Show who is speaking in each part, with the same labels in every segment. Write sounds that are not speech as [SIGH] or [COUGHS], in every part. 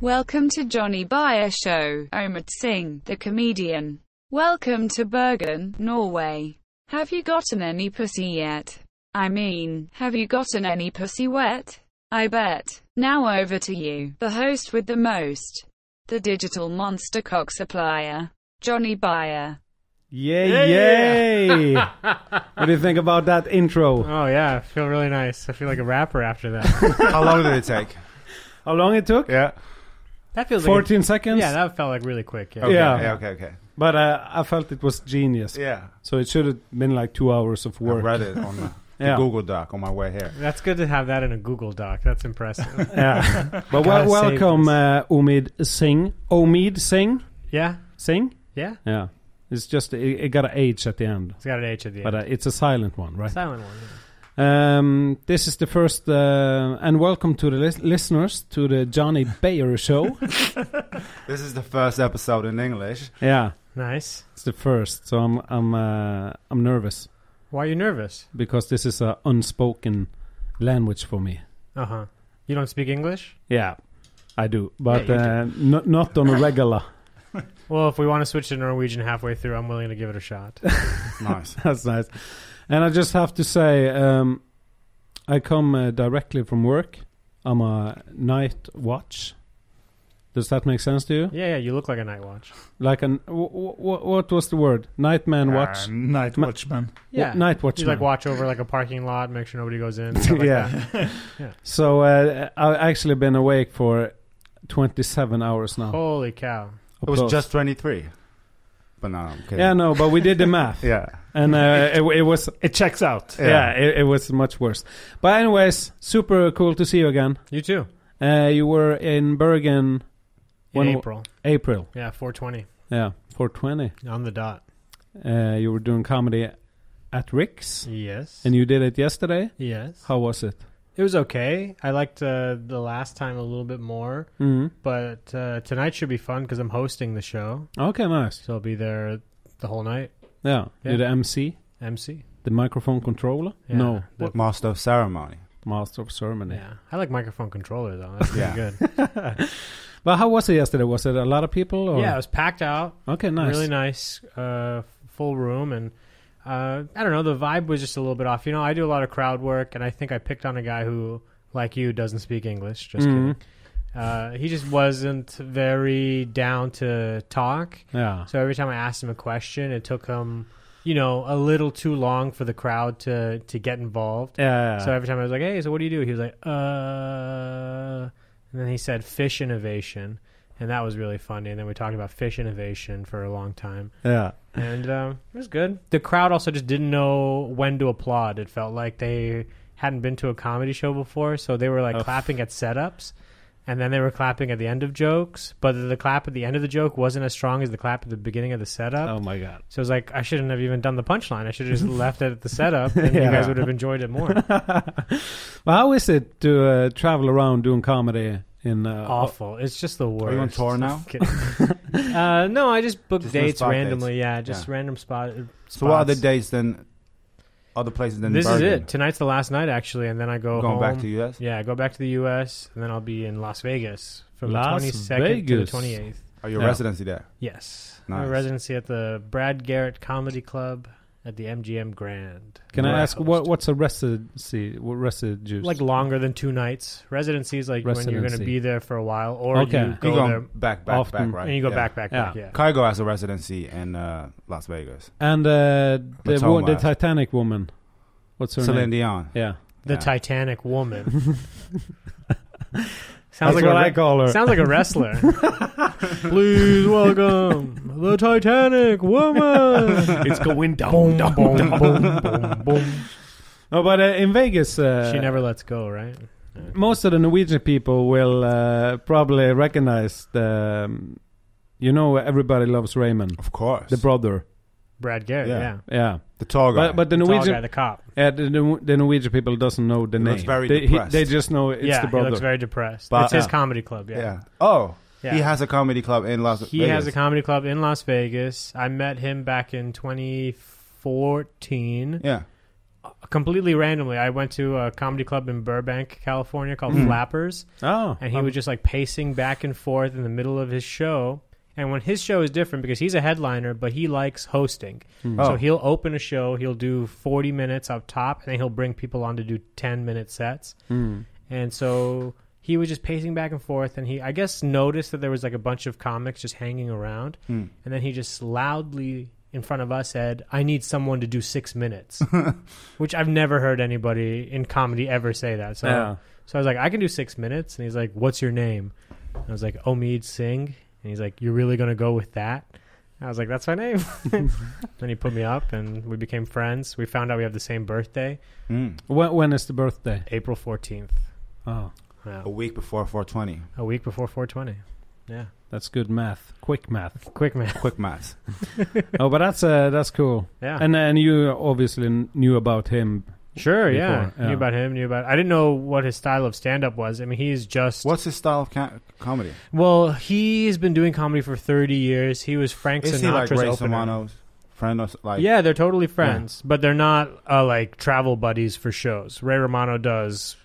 Speaker 1: Welcome to Johnny Bayer Show, Omid Singh, the comedian. Welcome to Bergen, Norway. Have you gotten any pussy yet? I mean, have you gotten any pussy wet? I bet. Now over to you, the host with the most, the digital monster cock supplier, Johnny Bayer.
Speaker 2: Yay, yay! what do you think about that intro?
Speaker 3: Oh yeah, I feel really nice. I feel like a rapper
Speaker 2: [LAUGHS]
Speaker 3: after that.
Speaker 4: How long did it take?
Speaker 2: How long it took?
Speaker 4: Yeah.
Speaker 3: That feels like
Speaker 2: 14
Speaker 3: a,
Speaker 2: seconds?
Speaker 3: yeah, that felt like really quick. Yeah.
Speaker 4: Okay.
Speaker 2: Yeah.
Speaker 4: Yeah. Okay. Okay.
Speaker 2: but uh, I felt it was genius.
Speaker 4: Yeah.
Speaker 2: So it should have been like two hours of
Speaker 4: I
Speaker 2: work.
Speaker 4: read it on the, the
Speaker 2: Yeah.
Speaker 4: Google Doc on my way here.
Speaker 3: That's good to have that in a Google Doc.
Speaker 2: [LAUGHS]
Speaker 3: That's impressive.
Speaker 2: [LAUGHS] Yeah. but
Speaker 3: Gotta
Speaker 2: well,
Speaker 3: save
Speaker 2: welcome, uh, Omid Singh. Omid Singh?
Speaker 3: yeah,
Speaker 2: Singh?
Speaker 3: yeah.
Speaker 2: Yeah. It's just, it, it got an H at the end.
Speaker 3: It's got an H at the end.
Speaker 2: But uh, it's a silent one, right?
Speaker 3: Silent one.
Speaker 2: Um, this is the first, uh, and welcome to the lis- listeners to the Johnny Bayer show.
Speaker 4: This is the first episode in English.
Speaker 2: yeah,
Speaker 3: Yeah. Nice.
Speaker 2: it's the first, so I'm I'm uh, I'm nervous
Speaker 3: Why are you nervous?
Speaker 2: because this is a unspoken language for me.
Speaker 3: Uh huh. You don't speak English?
Speaker 2: Yeah, I do, but
Speaker 3: Yeah,
Speaker 2: uh,
Speaker 3: you
Speaker 2: not not on a regular.
Speaker 3: Well, if we want to switch to Norwegian halfway through, I'm willing to give it
Speaker 2: [LAUGHS]
Speaker 3: a shot.
Speaker 4: Nice.
Speaker 2: That's [COUGHS] nice, and I just have to say, um, I come uh, directly from work. I'm a night watch. Does that make sense to you?
Speaker 3: yeah, yeah. You look like a night watch.
Speaker 2: Like an w- w- what was the word? Nightman watch.
Speaker 5: Uh, night
Speaker 2: Ma-
Speaker 5: Watchman.
Speaker 3: Yeah.
Speaker 2: Wa- night watch.
Speaker 3: You like watch over like a parking lot, make sure nobody
Speaker 2: [LAUGHS]
Speaker 3: goes in. stuff like that.
Speaker 2: yeah. So uh, I've actually been awake for 27 hours now.
Speaker 3: Holy cow.
Speaker 4: It was
Speaker 2: Applause.
Speaker 4: just 23. But no, I'm kidding.
Speaker 2: Yeah, no, but we [LAUGHS] did the math,
Speaker 4: Yeah.
Speaker 2: and uh, it, it was
Speaker 5: It checks out.
Speaker 2: yeah, it, it was much worse. But anyways, super cool to see you again.
Speaker 3: You too.
Speaker 2: Uh, you were in Bergen
Speaker 3: In
Speaker 2: When-
Speaker 3: April.
Speaker 2: April,
Speaker 3: Yeah, 420
Speaker 2: yeah, 420.
Speaker 3: on the dot.
Speaker 2: Uh, you were doing comedy at Rick's,
Speaker 3: Yes.
Speaker 2: and you did it yesterday.
Speaker 3: yes.
Speaker 2: How was it?
Speaker 3: It was okay. I liked uh, the last time a little bit more,
Speaker 2: Mm.
Speaker 3: but uh, tonight should be fun because I'm hosting the show,
Speaker 2: Okay, nice.
Speaker 3: so I'll be there the whole night.
Speaker 2: Yeah,
Speaker 3: Yeah.
Speaker 2: you're the MC,
Speaker 3: MC.
Speaker 2: the microphone controller.
Speaker 3: Yeah.
Speaker 2: No,
Speaker 3: The-
Speaker 4: Master of ceremony.
Speaker 2: master of ceremony.
Speaker 3: yeah. I like microphone controller though. That's pretty
Speaker 4: Yeah.
Speaker 2: [LAUGHS]
Speaker 3: good.
Speaker 2: But how was it yesterday? Was it a lot of people? Or?
Speaker 3: yeah, it was packed out.
Speaker 2: Okay, Oh. nice.
Speaker 3: Really nice, uh, full room, and uh, I don't know. The vibe was just a little bit off. You know, I do a lot of crowd work, and I think I picked on a guy who, like you, doesn't speak English. Just
Speaker 2: Mhm.
Speaker 3: kidding. Uh, he just wasn't very down to talk.
Speaker 2: Yeah.
Speaker 3: So every time I asked him a question, it took him, you know, a little too long for the crowd to to get involved.
Speaker 2: Yeah.
Speaker 3: So every time I was like, "Hey, so what do you do?" He was like, "Uh," and then he said, "Fish innovation," and that was really funny. And then we talked about fish innovation for a long time,
Speaker 2: yeah.
Speaker 3: and um, it was good. The crowd also just didn't know when to applaud. It felt like they hadn't been to a comedy show before, so they were like
Speaker 2: Oof.
Speaker 3: clapping at setups. And then they were clapping at the end of jokes, but the clap at the end of the joke wasn't as strong as the clap at the beginning of the setup.
Speaker 2: Oh my god.
Speaker 3: So I was like, I shouldn't have even done the punchline. I should
Speaker 4: [LAUGHS]
Speaker 3: have just left it at the setup, and
Speaker 2: Yeah.
Speaker 3: you guys would have enjoyed it more.
Speaker 4: Uh,
Speaker 2: [LAUGHS] well, how is it to uh, travel around doing comedy in uh,
Speaker 3: Awful. It's just the worst.
Speaker 4: Are you on tour now?
Speaker 3: Kidding. uh, no, I just book
Speaker 4: Just no
Speaker 3: dates
Speaker 4: spot
Speaker 3: randomly. Yeah, just
Speaker 4: Yeah.
Speaker 3: random spot.
Speaker 4: So what are the
Speaker 3: spots.
Speaker 4: dates then? Other places than
Speaker 3: This
Speaker 4: Bergen?
Speaker 3: is it. Um, Tonight's the last night, actually, and then I go
Speaker 4: Going
Speaker 3: home.
Speaker 4: back to US.
Speaker 3: yeah, I go back to the U.S. and then I'll be in Las Vegas from
Speaker 2: Las
Speaker 3: the 22nd to
Speaker 2: Vegas.
Speaker 3: the 28th.
Speaker 4: Are your
Speaker 2: Yeah.
Speaker 4: residency there?
Speaker 3: Yes, I have a
Speaker 4: Nice.
Speaker 3: residency at the Brad Garrett Comedy Club at the MGM Grand.
Speaker 2: Can
Speaker 3: Where
Speaker 2: I ask what
Speaker 3: host.
Speaker 2: what's a residency? What residues?
Speaker 3: like longer than two nights. Residencies like when you're going
Speaker 2: Residency.
Speaker 3: to be there for a while, or
Speaker 2: Okay.
Speaker 3: you
Speaker 4: you
Speaker 3: go
Speaker 4: go
Speaker 3: there
Speaker 4: back, back,
Speaker 2: often,
Speaker 4: back, right?
Speaker 3: and you go
Speaker 4: Yeah.
Speaker 3: back, back, back.
Speaker 2: Yeah.
Speaker 3: Yeah,
Speaker 4: Cargo has a residency in uh, Las Vegas.
Speaker 2: and uh, the
Speaker 4: Matoma.
Speaker 2: wo- the Titanic woman. What's her
Speaker 4: Celine
Speaker 2: name?
Speaker 4: Dion.
Speaker 2: Yeah.
Speaker 3: the
Speaker 4: Yeah.
Speaker 3: Titanic woman.
Speaker 2: [LAUGHS]
Speaker 3: sounds
Speaker 2: That's
Speaker 3: like
Speaker 2: what
Speaker 3: a
Speaker 2: I
Speaker 3: re-
Speaker 2: call her.
Speaker 3: sounds like
Speaker 2: [LAUGHS]
Speaker 3: a wrestler. Please welcome the Titanic woman.
Speaker 2: it's going
Speaker 3: boom, boom, boom, boom, boom.
Speaker 2: No, but uh, in Vegas, uh,
Speaker 3: She never lets go, right?
Speaker 2: most of the Norwegian people will uh, probably recognize the. um, you know, everybody loves Raymond,
Speaker 4: Of course.
Speaker 2: the brother.
Speaker 3: Brad Garrett,
Speaker 4: Yeah.
Speaker 3: yeah.
Speaker 2: Yeah,
Speaker 4: the tall guy.
Speaker 2: but but the
Speaker 3: The, tall
Speaker 2: Norwegian
Speaker 3: guy, the cop.
Speaker 2: Yeah, the, the, the Norwegian people doesn't know the
Speaker 4: He
Speaker 2: name.
Speaker 4: looks very
Speaker 2: they,
Speaker 4: depressed.
Speaker 2: they just know it's
Speaker 3: yeah,
Speaker 2: the
Speaker 3: he
Speaker 2: brother.
Speaker 3: looks very depressed.
Speaker 4: But-
Speaker 3: it's his
Speaker 4: Yeah.
Speaker 3: comedy club,
Speaker 4: yeah. Oh,
Speaker 3: yeah.
Speaker 4: he has a comedy club in Las
Speaker 3: He
Speaker 4: Vegas.
Speaker 3: has a comedy club in Las Vegas. I met him back in 2014.
Speaker 4: Yeah.
Speaker 3: completely randomly, I went to a comedy club in Burbank, California called
Speaker 4: Hmm.
Speaker 2: Mm.
Speaker 3: Flappers,
Speaker 2: Oh,
Speaker 3: and he
Speaker 2: um,
Speaker 3: was just like pacing back and forth in the middle of his show. And when his show is different because he's a headliner, but he likes hosting.
Speaker 2: Mm.
Speaker 4: Oh.
Speaker 3: So he'll open a show, he'll do 40 minutes up top, and then he'll bring people on to do 10 minute sets.
Speaker 2: mm.
Speaker 3: And so he was just pacing back and forth, and he, I guess, noticed that there was like a bunch of comics just hanging around.
Speaker 4: Hmm.
Speaker 3: And then he just loudly in front of us said, I need someone to do six minutes, which I've never heard anybody in comedy ever say that. So,
Speaker 2: yeah.
Speaker 3: so I was like, I can do six minutes. And he's like, What's your name? And I was like, Omid Singh. And he's like, You're really going to go with that? And I was like, That's my name. then he put me up, and we became friends. We found out we have the same birthday,
Speaker 4: Mm.
Speaker 2: When, when is the birthday?
Speaker 3: April 14th.
Speaker 2: Oh,
Speaker 3: Yeah.
Speaker 4: A week before 420.
Speaker 3: A week before 420. Yeah.
Speaker 2: that's good math. Quick
Speaker 3: [LAUGHS]
Speaker 2: math.
Speaker 3: Quick man.
Speaker 4: Quick maths.
Speaker 2: oh, but that's uh, that's cool.
Speaker 3: Yeah.
Speaker 2: And and you obviously kn- knew about him.
Speaker 3: sure, yeah.
Speaker 2: Before, yeah.
Speaker 3: Knew about him, knew about I didn't know what his style of stand up was. I mean, he's just
Speaker 4: [LAUGHS] What's his style of ca- comedy?
Speaker 3: Well, he's been doing comedy for 30 years. He was Frank
Speaker 4: Is
Speaker 3: Sinatra's
Speaker 4: he like Ray
Speaker 3: opener.
Speaker 4: Romano's friend or s- like?
Speaker 3: yeah, they're totally friends, but they're not uh, like travel buddies for shows. Ray Romano does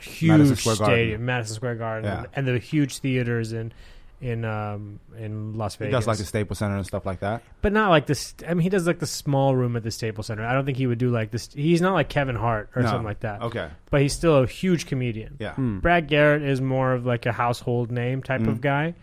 Speaker 3: huge
Speaker 4: Madison Square Garden.
Speaker 3: stadium, Madison Square Garden,
Speaker 4: Yeah.
Speaker 3: and the huge theaters in in um, in Las
Speaker 4: He
Speaker 3: Vegas.
Speaker 4: does like the Staples Center and stuff like that.
Speaker 3: but not like this. I mean, he does like the small room at the Staples Center. I don't think he would do like this. He's not like Kevin Hart or
Speaker 4: No.
Speaker 3: something like that.
Speaker 4: Okay.
Speaker 3: But he's still a huge comedian.
Speaker 4: Yeah.
Speaker 2: Hmm.
Speaker 3: Brad Garrett is more of like a household name type
Speaker 4: Mm.
Speaker 3: of guy,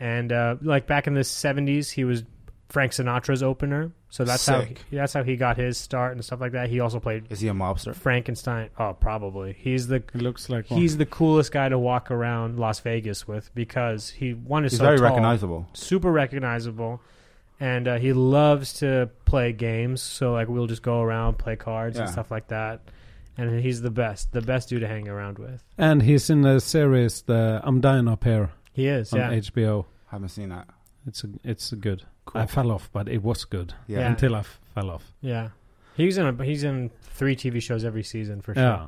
Speaker 3: and uh, like back in the seventies, he was Frank Sinatra's opener. So that's
Speaker 4: Sick.
Speaker 3: how he, that's how he got his start and stuff like that. He also played
Speaker 4: Is he a mobster?
Speaker 3: Frankenstein. Oh, probably he's the
Speaker 2: He looks like one.
Speaker 3: he's the coolest guy to walk around Las Vegas with because he one is
Speaker 4: He's
Speaker 3: so
Speaker 4: very
Speaker 3: tall,
Speaker 4: recognizable.
Speaker 3: super recognizable. And uh, he loves to play games, so like we'll just go around play cards and
Speaker 4: Yeah.
Speaker 3: stuff like that. And he's the best, the best dude to hang around with.
Speaker 2: and he's in the series the I'm Dying Up Here
Speaker 3: He is,
Speaker 2: on
Speaker 3: yeah.
Speaker 2: HBO.
Speaker 4: Haven't seen that.
Speaker 2: It's a, it's a good.
Speaker 4: Cool.
Speaker 2: I fell off, but it was good
Speaker 4: yeah.
Speaker 3: Yeah.
Speaker 2: until I f- fell off.
Speaker 3: Yeah, he's in a, he's in three TV shows every season for sure.
Speaker 2: Yeah.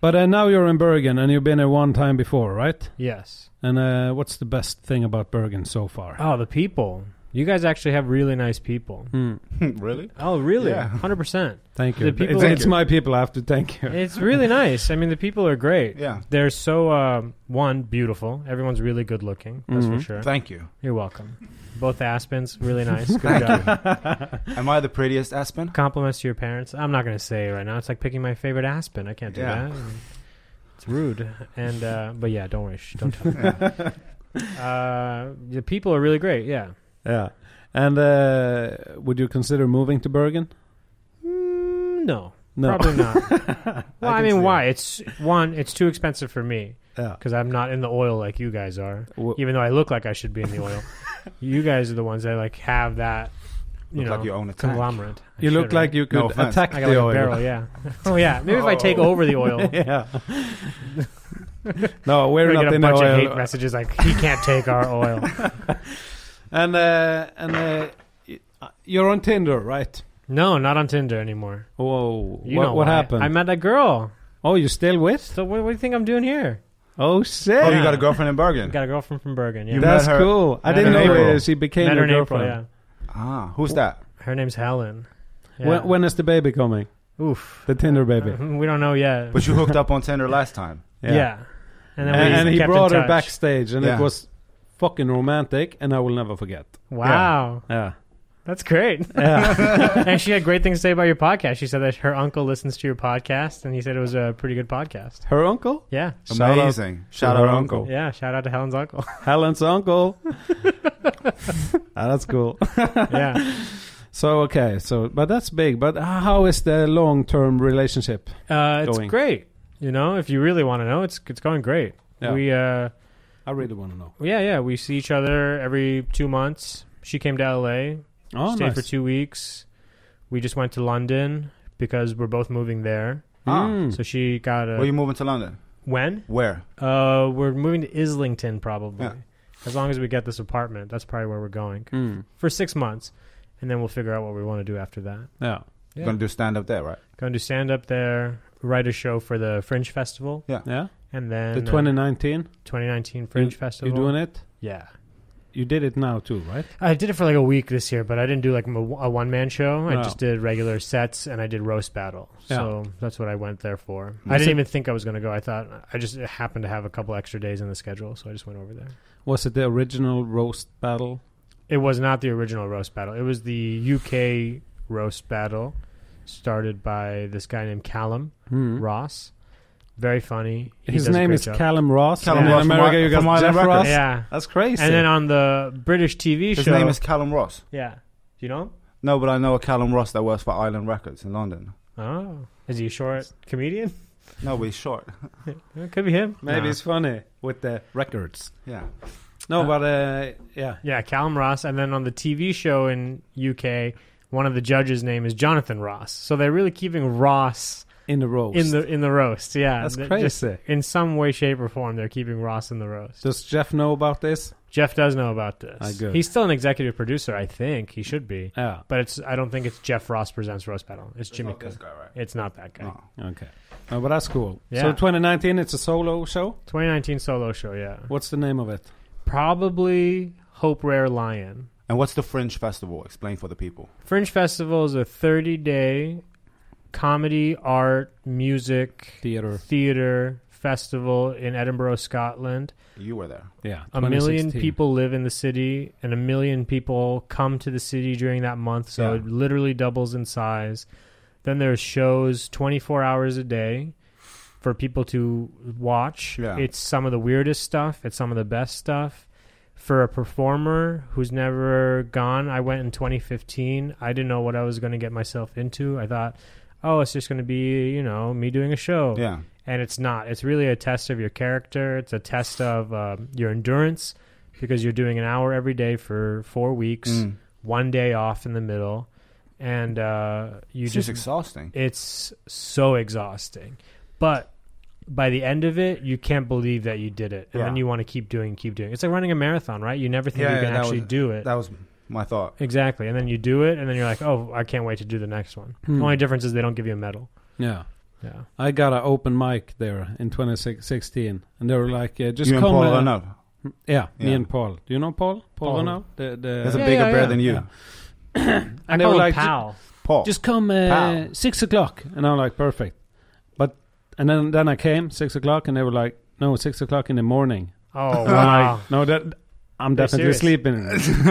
Speaker 2: But uh, now you're in Bergen, and you've been there one time before, right?
Speaker 3: Yes.
Speaker 2: And uh, what's the best thing about Bergen so far?
Speaker 3: Oh, the people. You guys actually have really nice people.
Speaker 2: Hmm.
Speaker 4: [LAUGHS] really?
Speaker 3: Oh, really?
Speaker 4: Yeah.
Speaker 3: [LAUGHS] Hundred
Speaker 4: [LAUGHS]
Speaker 3: percent.
Speaker 2: Thank
Speaker 3: The
Speaker 2: you.
Speaker 3: people-
Speaker 2: it's
Speaker 4: Thank
Speaker 2: it's
Speaker 4: you.
Speaker 2: my people. I have to thank you.
Speaker 3: It's really nice. I mean, the people are great.
Speaker 4: Yeah.
Speaker 3: They're so um, one beautiful. Everyone's really good looking. That's
Speaker 4: Mm-hmm.
Speaker 3: for
Speaker 2: Mhm.
Speaker 3: sure.
Speaker 4: Thank you.
Speaker 3: You're welcome. Both Aspens, really
Speaker 4: [LAUGHS]
Speaker 3: nice. Good
Speaker 4: Thank
Speaker 3: job.
Speaker 4: Am I the prettiest Aspen?
Speaker 3: Compliments to your parents. I'm not going to say it right now. It's like picking my favorite Aspen. I can't do
Speaker 4: Yeah.
Speaker 3: that. It's rude. And uh, but yeah, don't worry. Shh, don't tell. me. [LAUGHS] uh, the people are really great. Yeah.
Speaker 2: yeah. And uh, would you consider moving to Bergen?
Speaker 3: Mm, no,
Speaker 2: No.
Speaker 3: probably not. well, I,
Speaker 4: can see
Speaker 3: mean,
Speaker 4: it.
Speaker 3: why? It's one. It's too expensive for me
Speaker 2: Yeah.
Speaker 3: because I'm not in the oil like you guys are.
Speaker 2: W-
Speaker 3: Even though I look like I should be in the oil, you guys are the ones that like have that. You
Speaker 4: Look
Speaker 3: know,
Speaker 4: like you own a tank.
Speaker 3: conglomerate. I
Speaker 2: You look
Speaker 3: should,
Speaker 2: like
Speaker 3: right?
Speaker 2: you could
Speaker 4: offense.
Speaker 2: attack the
Speaker 3: I got like a
Speaker 2: oil.
Speaker 3: barrel. Yeah. [LAUGHS] oh yeah. Maybe if I take over
Speaker 2: [LAUGHS]
Speaker 3: the oil, [LAUGHS]
Speaker 2: yeah. no, we're
Speaker 3: we
Speaker 2: not
Speaker 3: get a
Speaker 2: in
Speaker 3: bunch
Speaker 2: oil.
Speaker 3: of hate messages like he can't take our oil.
Speaker 2: [LAUGHS] And uh, and uh, y- uh, you're on Tinder, right?
Speaker 3: No, not on Tinder anymore.
Speaker 2: Whoa!
Speaker 3: You
Speaker 2: what
Speaker 3: know
Speaker 2: what
Speaker 3: why.
Speaker 2: happened?
Speaker 3: I met that girl.
Speaker 2: oh, you still with?
Speaker 3: So what, what do you think I'm doing here?
Speaker 2: Oh
Speaker 4: Oh,
Speaker 2: shit!
Speaker 4: you got a girlfriend in Bergen?
Speaker 3: Got a girlfriend from Bergen. Yeah.
Speaker 4: You
Speaker 2: That's
Speaker 4: met her-
Speaker 2: cool. I
Speaker 3: Met
Speaker 2: didn't
Speaker 4: her
Speaker 2: know
Speaker 4: in
Speaker 2: uh,
Speaker 4: April.
Speaker 2: she became
Speaker 3: Met her
Speaker 2: your
Speaker 3: in April.
Speaker 2: girlfriend.
Speaker 3: Yeah.
Speaker 4: ah, who's that?
Speaker 3: Her name's Helen. Yeah.
Speaker 2: When, when is the baby coming?
Speaker 3: Oof.
Speaker 2: The Tinder baby.
Speaker 3: Uh, [LAUGHS] we don't know yet.
Speaker 4: But you hooked up on Tinder
Speaker 3: [LAUGHS]
Speaker 4: last time.
Speaker 3: yeah. And then
Speaker 2: And,
Speaker 3: we
Speaker 2: and he
Speaker 3: kept in
Speaker 2: brought her
Speaker 3: touch.
Speaker 2: backstage, and
Speaker 4: Yeah.
Speaker 2: it was fucking romantic, and I will never forget.
Speaker 3: Wow.
Speaker 2: Yeah.
Speaker 3: That's great.
Speaker 2: [LAUGHS] Yeah.
Speaker 3: [LAUGHS] and she had great things to say about your podcast. She said that her uncle listens to your podcast and he said it was a pretty good podcast.
Speaker 2: her uncle,
Speaker 3: Yeah.
Speaker 2: Shout out
Speaker 4: Amazing.
Speaker 2: to
Speaker 4: Shout
Speaker 2: her
Speaker 4: out,
Speaker 2: uncle.
Speaker 4: uncle.
Speaker 3: Yeah. Shout out to
Speaker 2: [LAUGHS]
Speaker 3: Helen's uncle.
Speaker 2: Helen's uncle. [LAUGHS] Ah, that's cool.
Speaker 3: yeah.
Speaker 2: So okay, so but that's big. But how is the long-term relationship?
Speaker 3: Uh, it's
Speaker 2: Going.
Speaker 3: great. You know, if you really want to know, it's it's going great.
Speaker 2: Yeah.
Speaker 3: We uh
Speaker 2: I really want to know.
Speaker 3: yeah, yeah, we see each other every 2 months. She came to LA.
Speaker 2: Oh,
Speaker 3: stayed
Speaker 2: nice.
Speaker 3: for two weeks. We just went to London because we're both moving there.
Speaker 4: Ah.
Speaker 2: Mm.
Speaker 3: So she got a
Speaker 4: Where are you moving to London?
Speaker 3: when?
Speaker 4: Where?
Speaker 3: Uh, we're moving to Islington probably.
Speaker 4: Yeah.
Speaker 3: As long as we get this apartment, that's probably where we're going
Speaker 2: Mm.
Speaker 3: for six months, and then we'll figure out what we want to do after that.
Speaker 2: Yeah.
Speaker 3: Yeah.
Speaker 4: You're going to do stand up there, right?
Speaker 3: Going to stand up there, write a show for the Fringe Festival,
Speaker 2: Yeah.
Speaker 3: and then
Speaker 2: The
Speaker 3: uh,
Speaker 2: 2019.
Speaker 3: 2019 Fringe
Speaker 2: You
Speaker 3: Festival.
Speaker 2: doing it?
Speaker 3: Yeah.
Speaker 2: you did it now too, right?
Speaker 3: I did it for like a week this year, but I didn't do like m- a one man show. I
Speaker 2: No.
Speaker 3: just did regular sets and I did roast battle. So that's what I went there for. I
Speaker 2: Was
Speaker 3: didn't
Speaker 2: it-
Speaker 3: even think I was going to go. I thought I just happened to have a couple extra days in the schedule, so I just went over there.
Speaker 2: Was it the original roast battle?
Speaker 3: It was not the original roast battle. It was the UK roast battle started by this guy named Callum
Speaker 2: Hmm.
Speaker 3: Ross. Very funny. He
Speaker 2: His
Speaker 3: does a
Speaker 2: name
Speaker 3: great
Speaker 2: is
Speaker 3: job.
Speaker 2: Callum Ross.
Speaker 4: Callum
Speaker 2: and
Speaker 4: Ross
Speaker 2: in
Speaker 4: from
Speaker 2: America,
Speaker 4: Wi-
Speaker 2: you got
Speaker 4: from Island
Speaker 2: Jeff
Speaker 4: Records.
Speaker 2: Ross.
Speaker 3: Yeah.
Speaker 2: That's crazy.
Speaker 3: And then uh, on the British TV
Speaker 4: His
Speaker 3: show.
Speaker 4: name is Callum Ross.
Speaker 3: yeah. Do you know him?
Speaker 4: No, but I know a Callum Ross that works for Island Records in London.
Speaker 3: Oh. Is he a short comedian?
Speaker 4: No, but he's short.
Speaker 3: It could be him.
Speaker 2: Maybe
Speaker 3: Nah.
Speaker 2: it's funny with the records.
Speaker 4: Yeah.
Speaker 2: No,
Speaker 3: Uh,
Speaker 2: but uh, yeah.
Speaker 3: Yeah, Callum Ross, and then on the TV show in UK, one of the judges' name is Jonathan Ross. So they're really keeping Ross
Speaker 2: In the roast.
Speaker 3: in the in the roast. Yeah,
Speaker 2: That's
Speaker 3: They're
Speaker 2: crazy.
Speaker 3: just- in some way, shape, or form, they're keeping Ross in the roast.
Speaker 2: Does Jeff know about this?
Speaker 3: Jeff does know about this.
Speaker 2: Ah, good.
Speaker 3: He's still an executive producer, I think. He should be,
Speaker 2: Yeah.
Speaker 3: but it's I don't think it's Jeff Ross presents roast battle. It's Jimmy
Speaker 4: Not Oh, this
Speaker 3: Cook.
Speaker 4: guy, right?
Speaker 3: It's not that guy.
Speaker 4: No.
Speaker 2: Okay. No, but that's cool. So
Speaker 3: Yeah.
Speaker 2: 2019, it's a solo show.
Speaker 3: 2019 solo show. Yeah,
Speaker 2: What's the name of it?
Speaker 3: probably Hope Rare Lion.
Speaker 4: And what's the Fringe Festival? Explain for the people.
Speaker 3: Fringe Festival is a 30 day comedy, art, music,
Speaker 2: Theater.
Speaker 3: theater festival in Edinburgh, Scotland.
Speaker 4: You were there.
Speaker 2: Yeah.
Speaker 3: A million
Speaker 2: 2016.
Speaker 3: people live in the city, and a million people come to the city during that month, so
Speaker 4: Yeah.
Speaker 3: it literally doubles in size. Then there's shows 24 hours a day for people to watch.
Speaker 4: Yeah.
Speaker 3: It's some of the weirdest stuff, it's some of the best stuff. For a performer who's never gone, I went in 2015. I didn't know what I was going to get myself into. I thought, oh, it's just going to be, you know, me doing a show
Speaker 4: Yeah.
Speaker 3: and it's not. It's really a test of your character. It's a test of um, your endurance because you're doing an hour every day for four weeks,
Speaker 4: Mm.
Speaker 3: one day off in the middle, and uh, you
Speaker 4: It's
Speaker 3: just
Speaker 4: just exhausting.
Speaker 3: it's so exhausting. But by the end of it, you can't believe that you did it, and
Speaker 4: Yeah.
Speaker 3: then you want to keep doing, keep doing. It's like running a marathon, right? You never think
Speaker 4: Yeah,
Speaker 3: you can
Speaker 4: yeah, that
Speaker 3: actually
Speaker 4: was-
Speaker 3: do it.
Speaker 4: That was my thought.
Speaker 3: Exactly, and then you do it, and then you're like, "Oh, I can't wait to do the next one."
Speaker 2: Hmm.
Speaker 3: The only difference is they don't give you a medal.
Speaker 2: Yeah.
Speaker 3: Yeah,
Speaker 2: I got an open mic there in 2016, and they were like, uh, "Just
Speaker 4: you and
Speaker 2: come."
Speaker 4: Paul
Speaker 2: uh,
Speaker 4: Renaud.
Speaker 2: Yeah, me
Speaker 4: Yeah.
Speaker 2: and Paul. Do you know Paul? Paul,
Speaker 3: Paul.
Speaker 2: Renaud? The, the,
Speaker 4: There's a
Speaker 3: Yeah,
Speaker 4: bigger
Speaker 3: yeah,
Speaker 4: bear
Speaker 3: yeah.
Speaker 4: than you.
Speaker 2: Yeah.
Speaker 3: I
Speaker 2: And they
Speaker 3: call
Speaker 2: were like,
Speaker 3: him
Speaker 4: [LAUGHS]
Speaker 3: pal.
Speaker 4: Paul.
Speaker 2: "Just come uh,
Speaker 4: Pow.
Speaker 2: six o'clock," and I'm like, "Perfect." But and then then I came six o'clock, and they were like, "No, six o'clock in the morning."
Speaker 3: Oh
Speaker 4: [LAUGHS]
Speaker 2: And I'm
Speaker 3: wow!
Speaker 2: like, no, that I'm
Speaker 3: They're
Speaker 2: definitely
Speaker 3: serious.
Speaker 2: [LAUGHS] sleeping.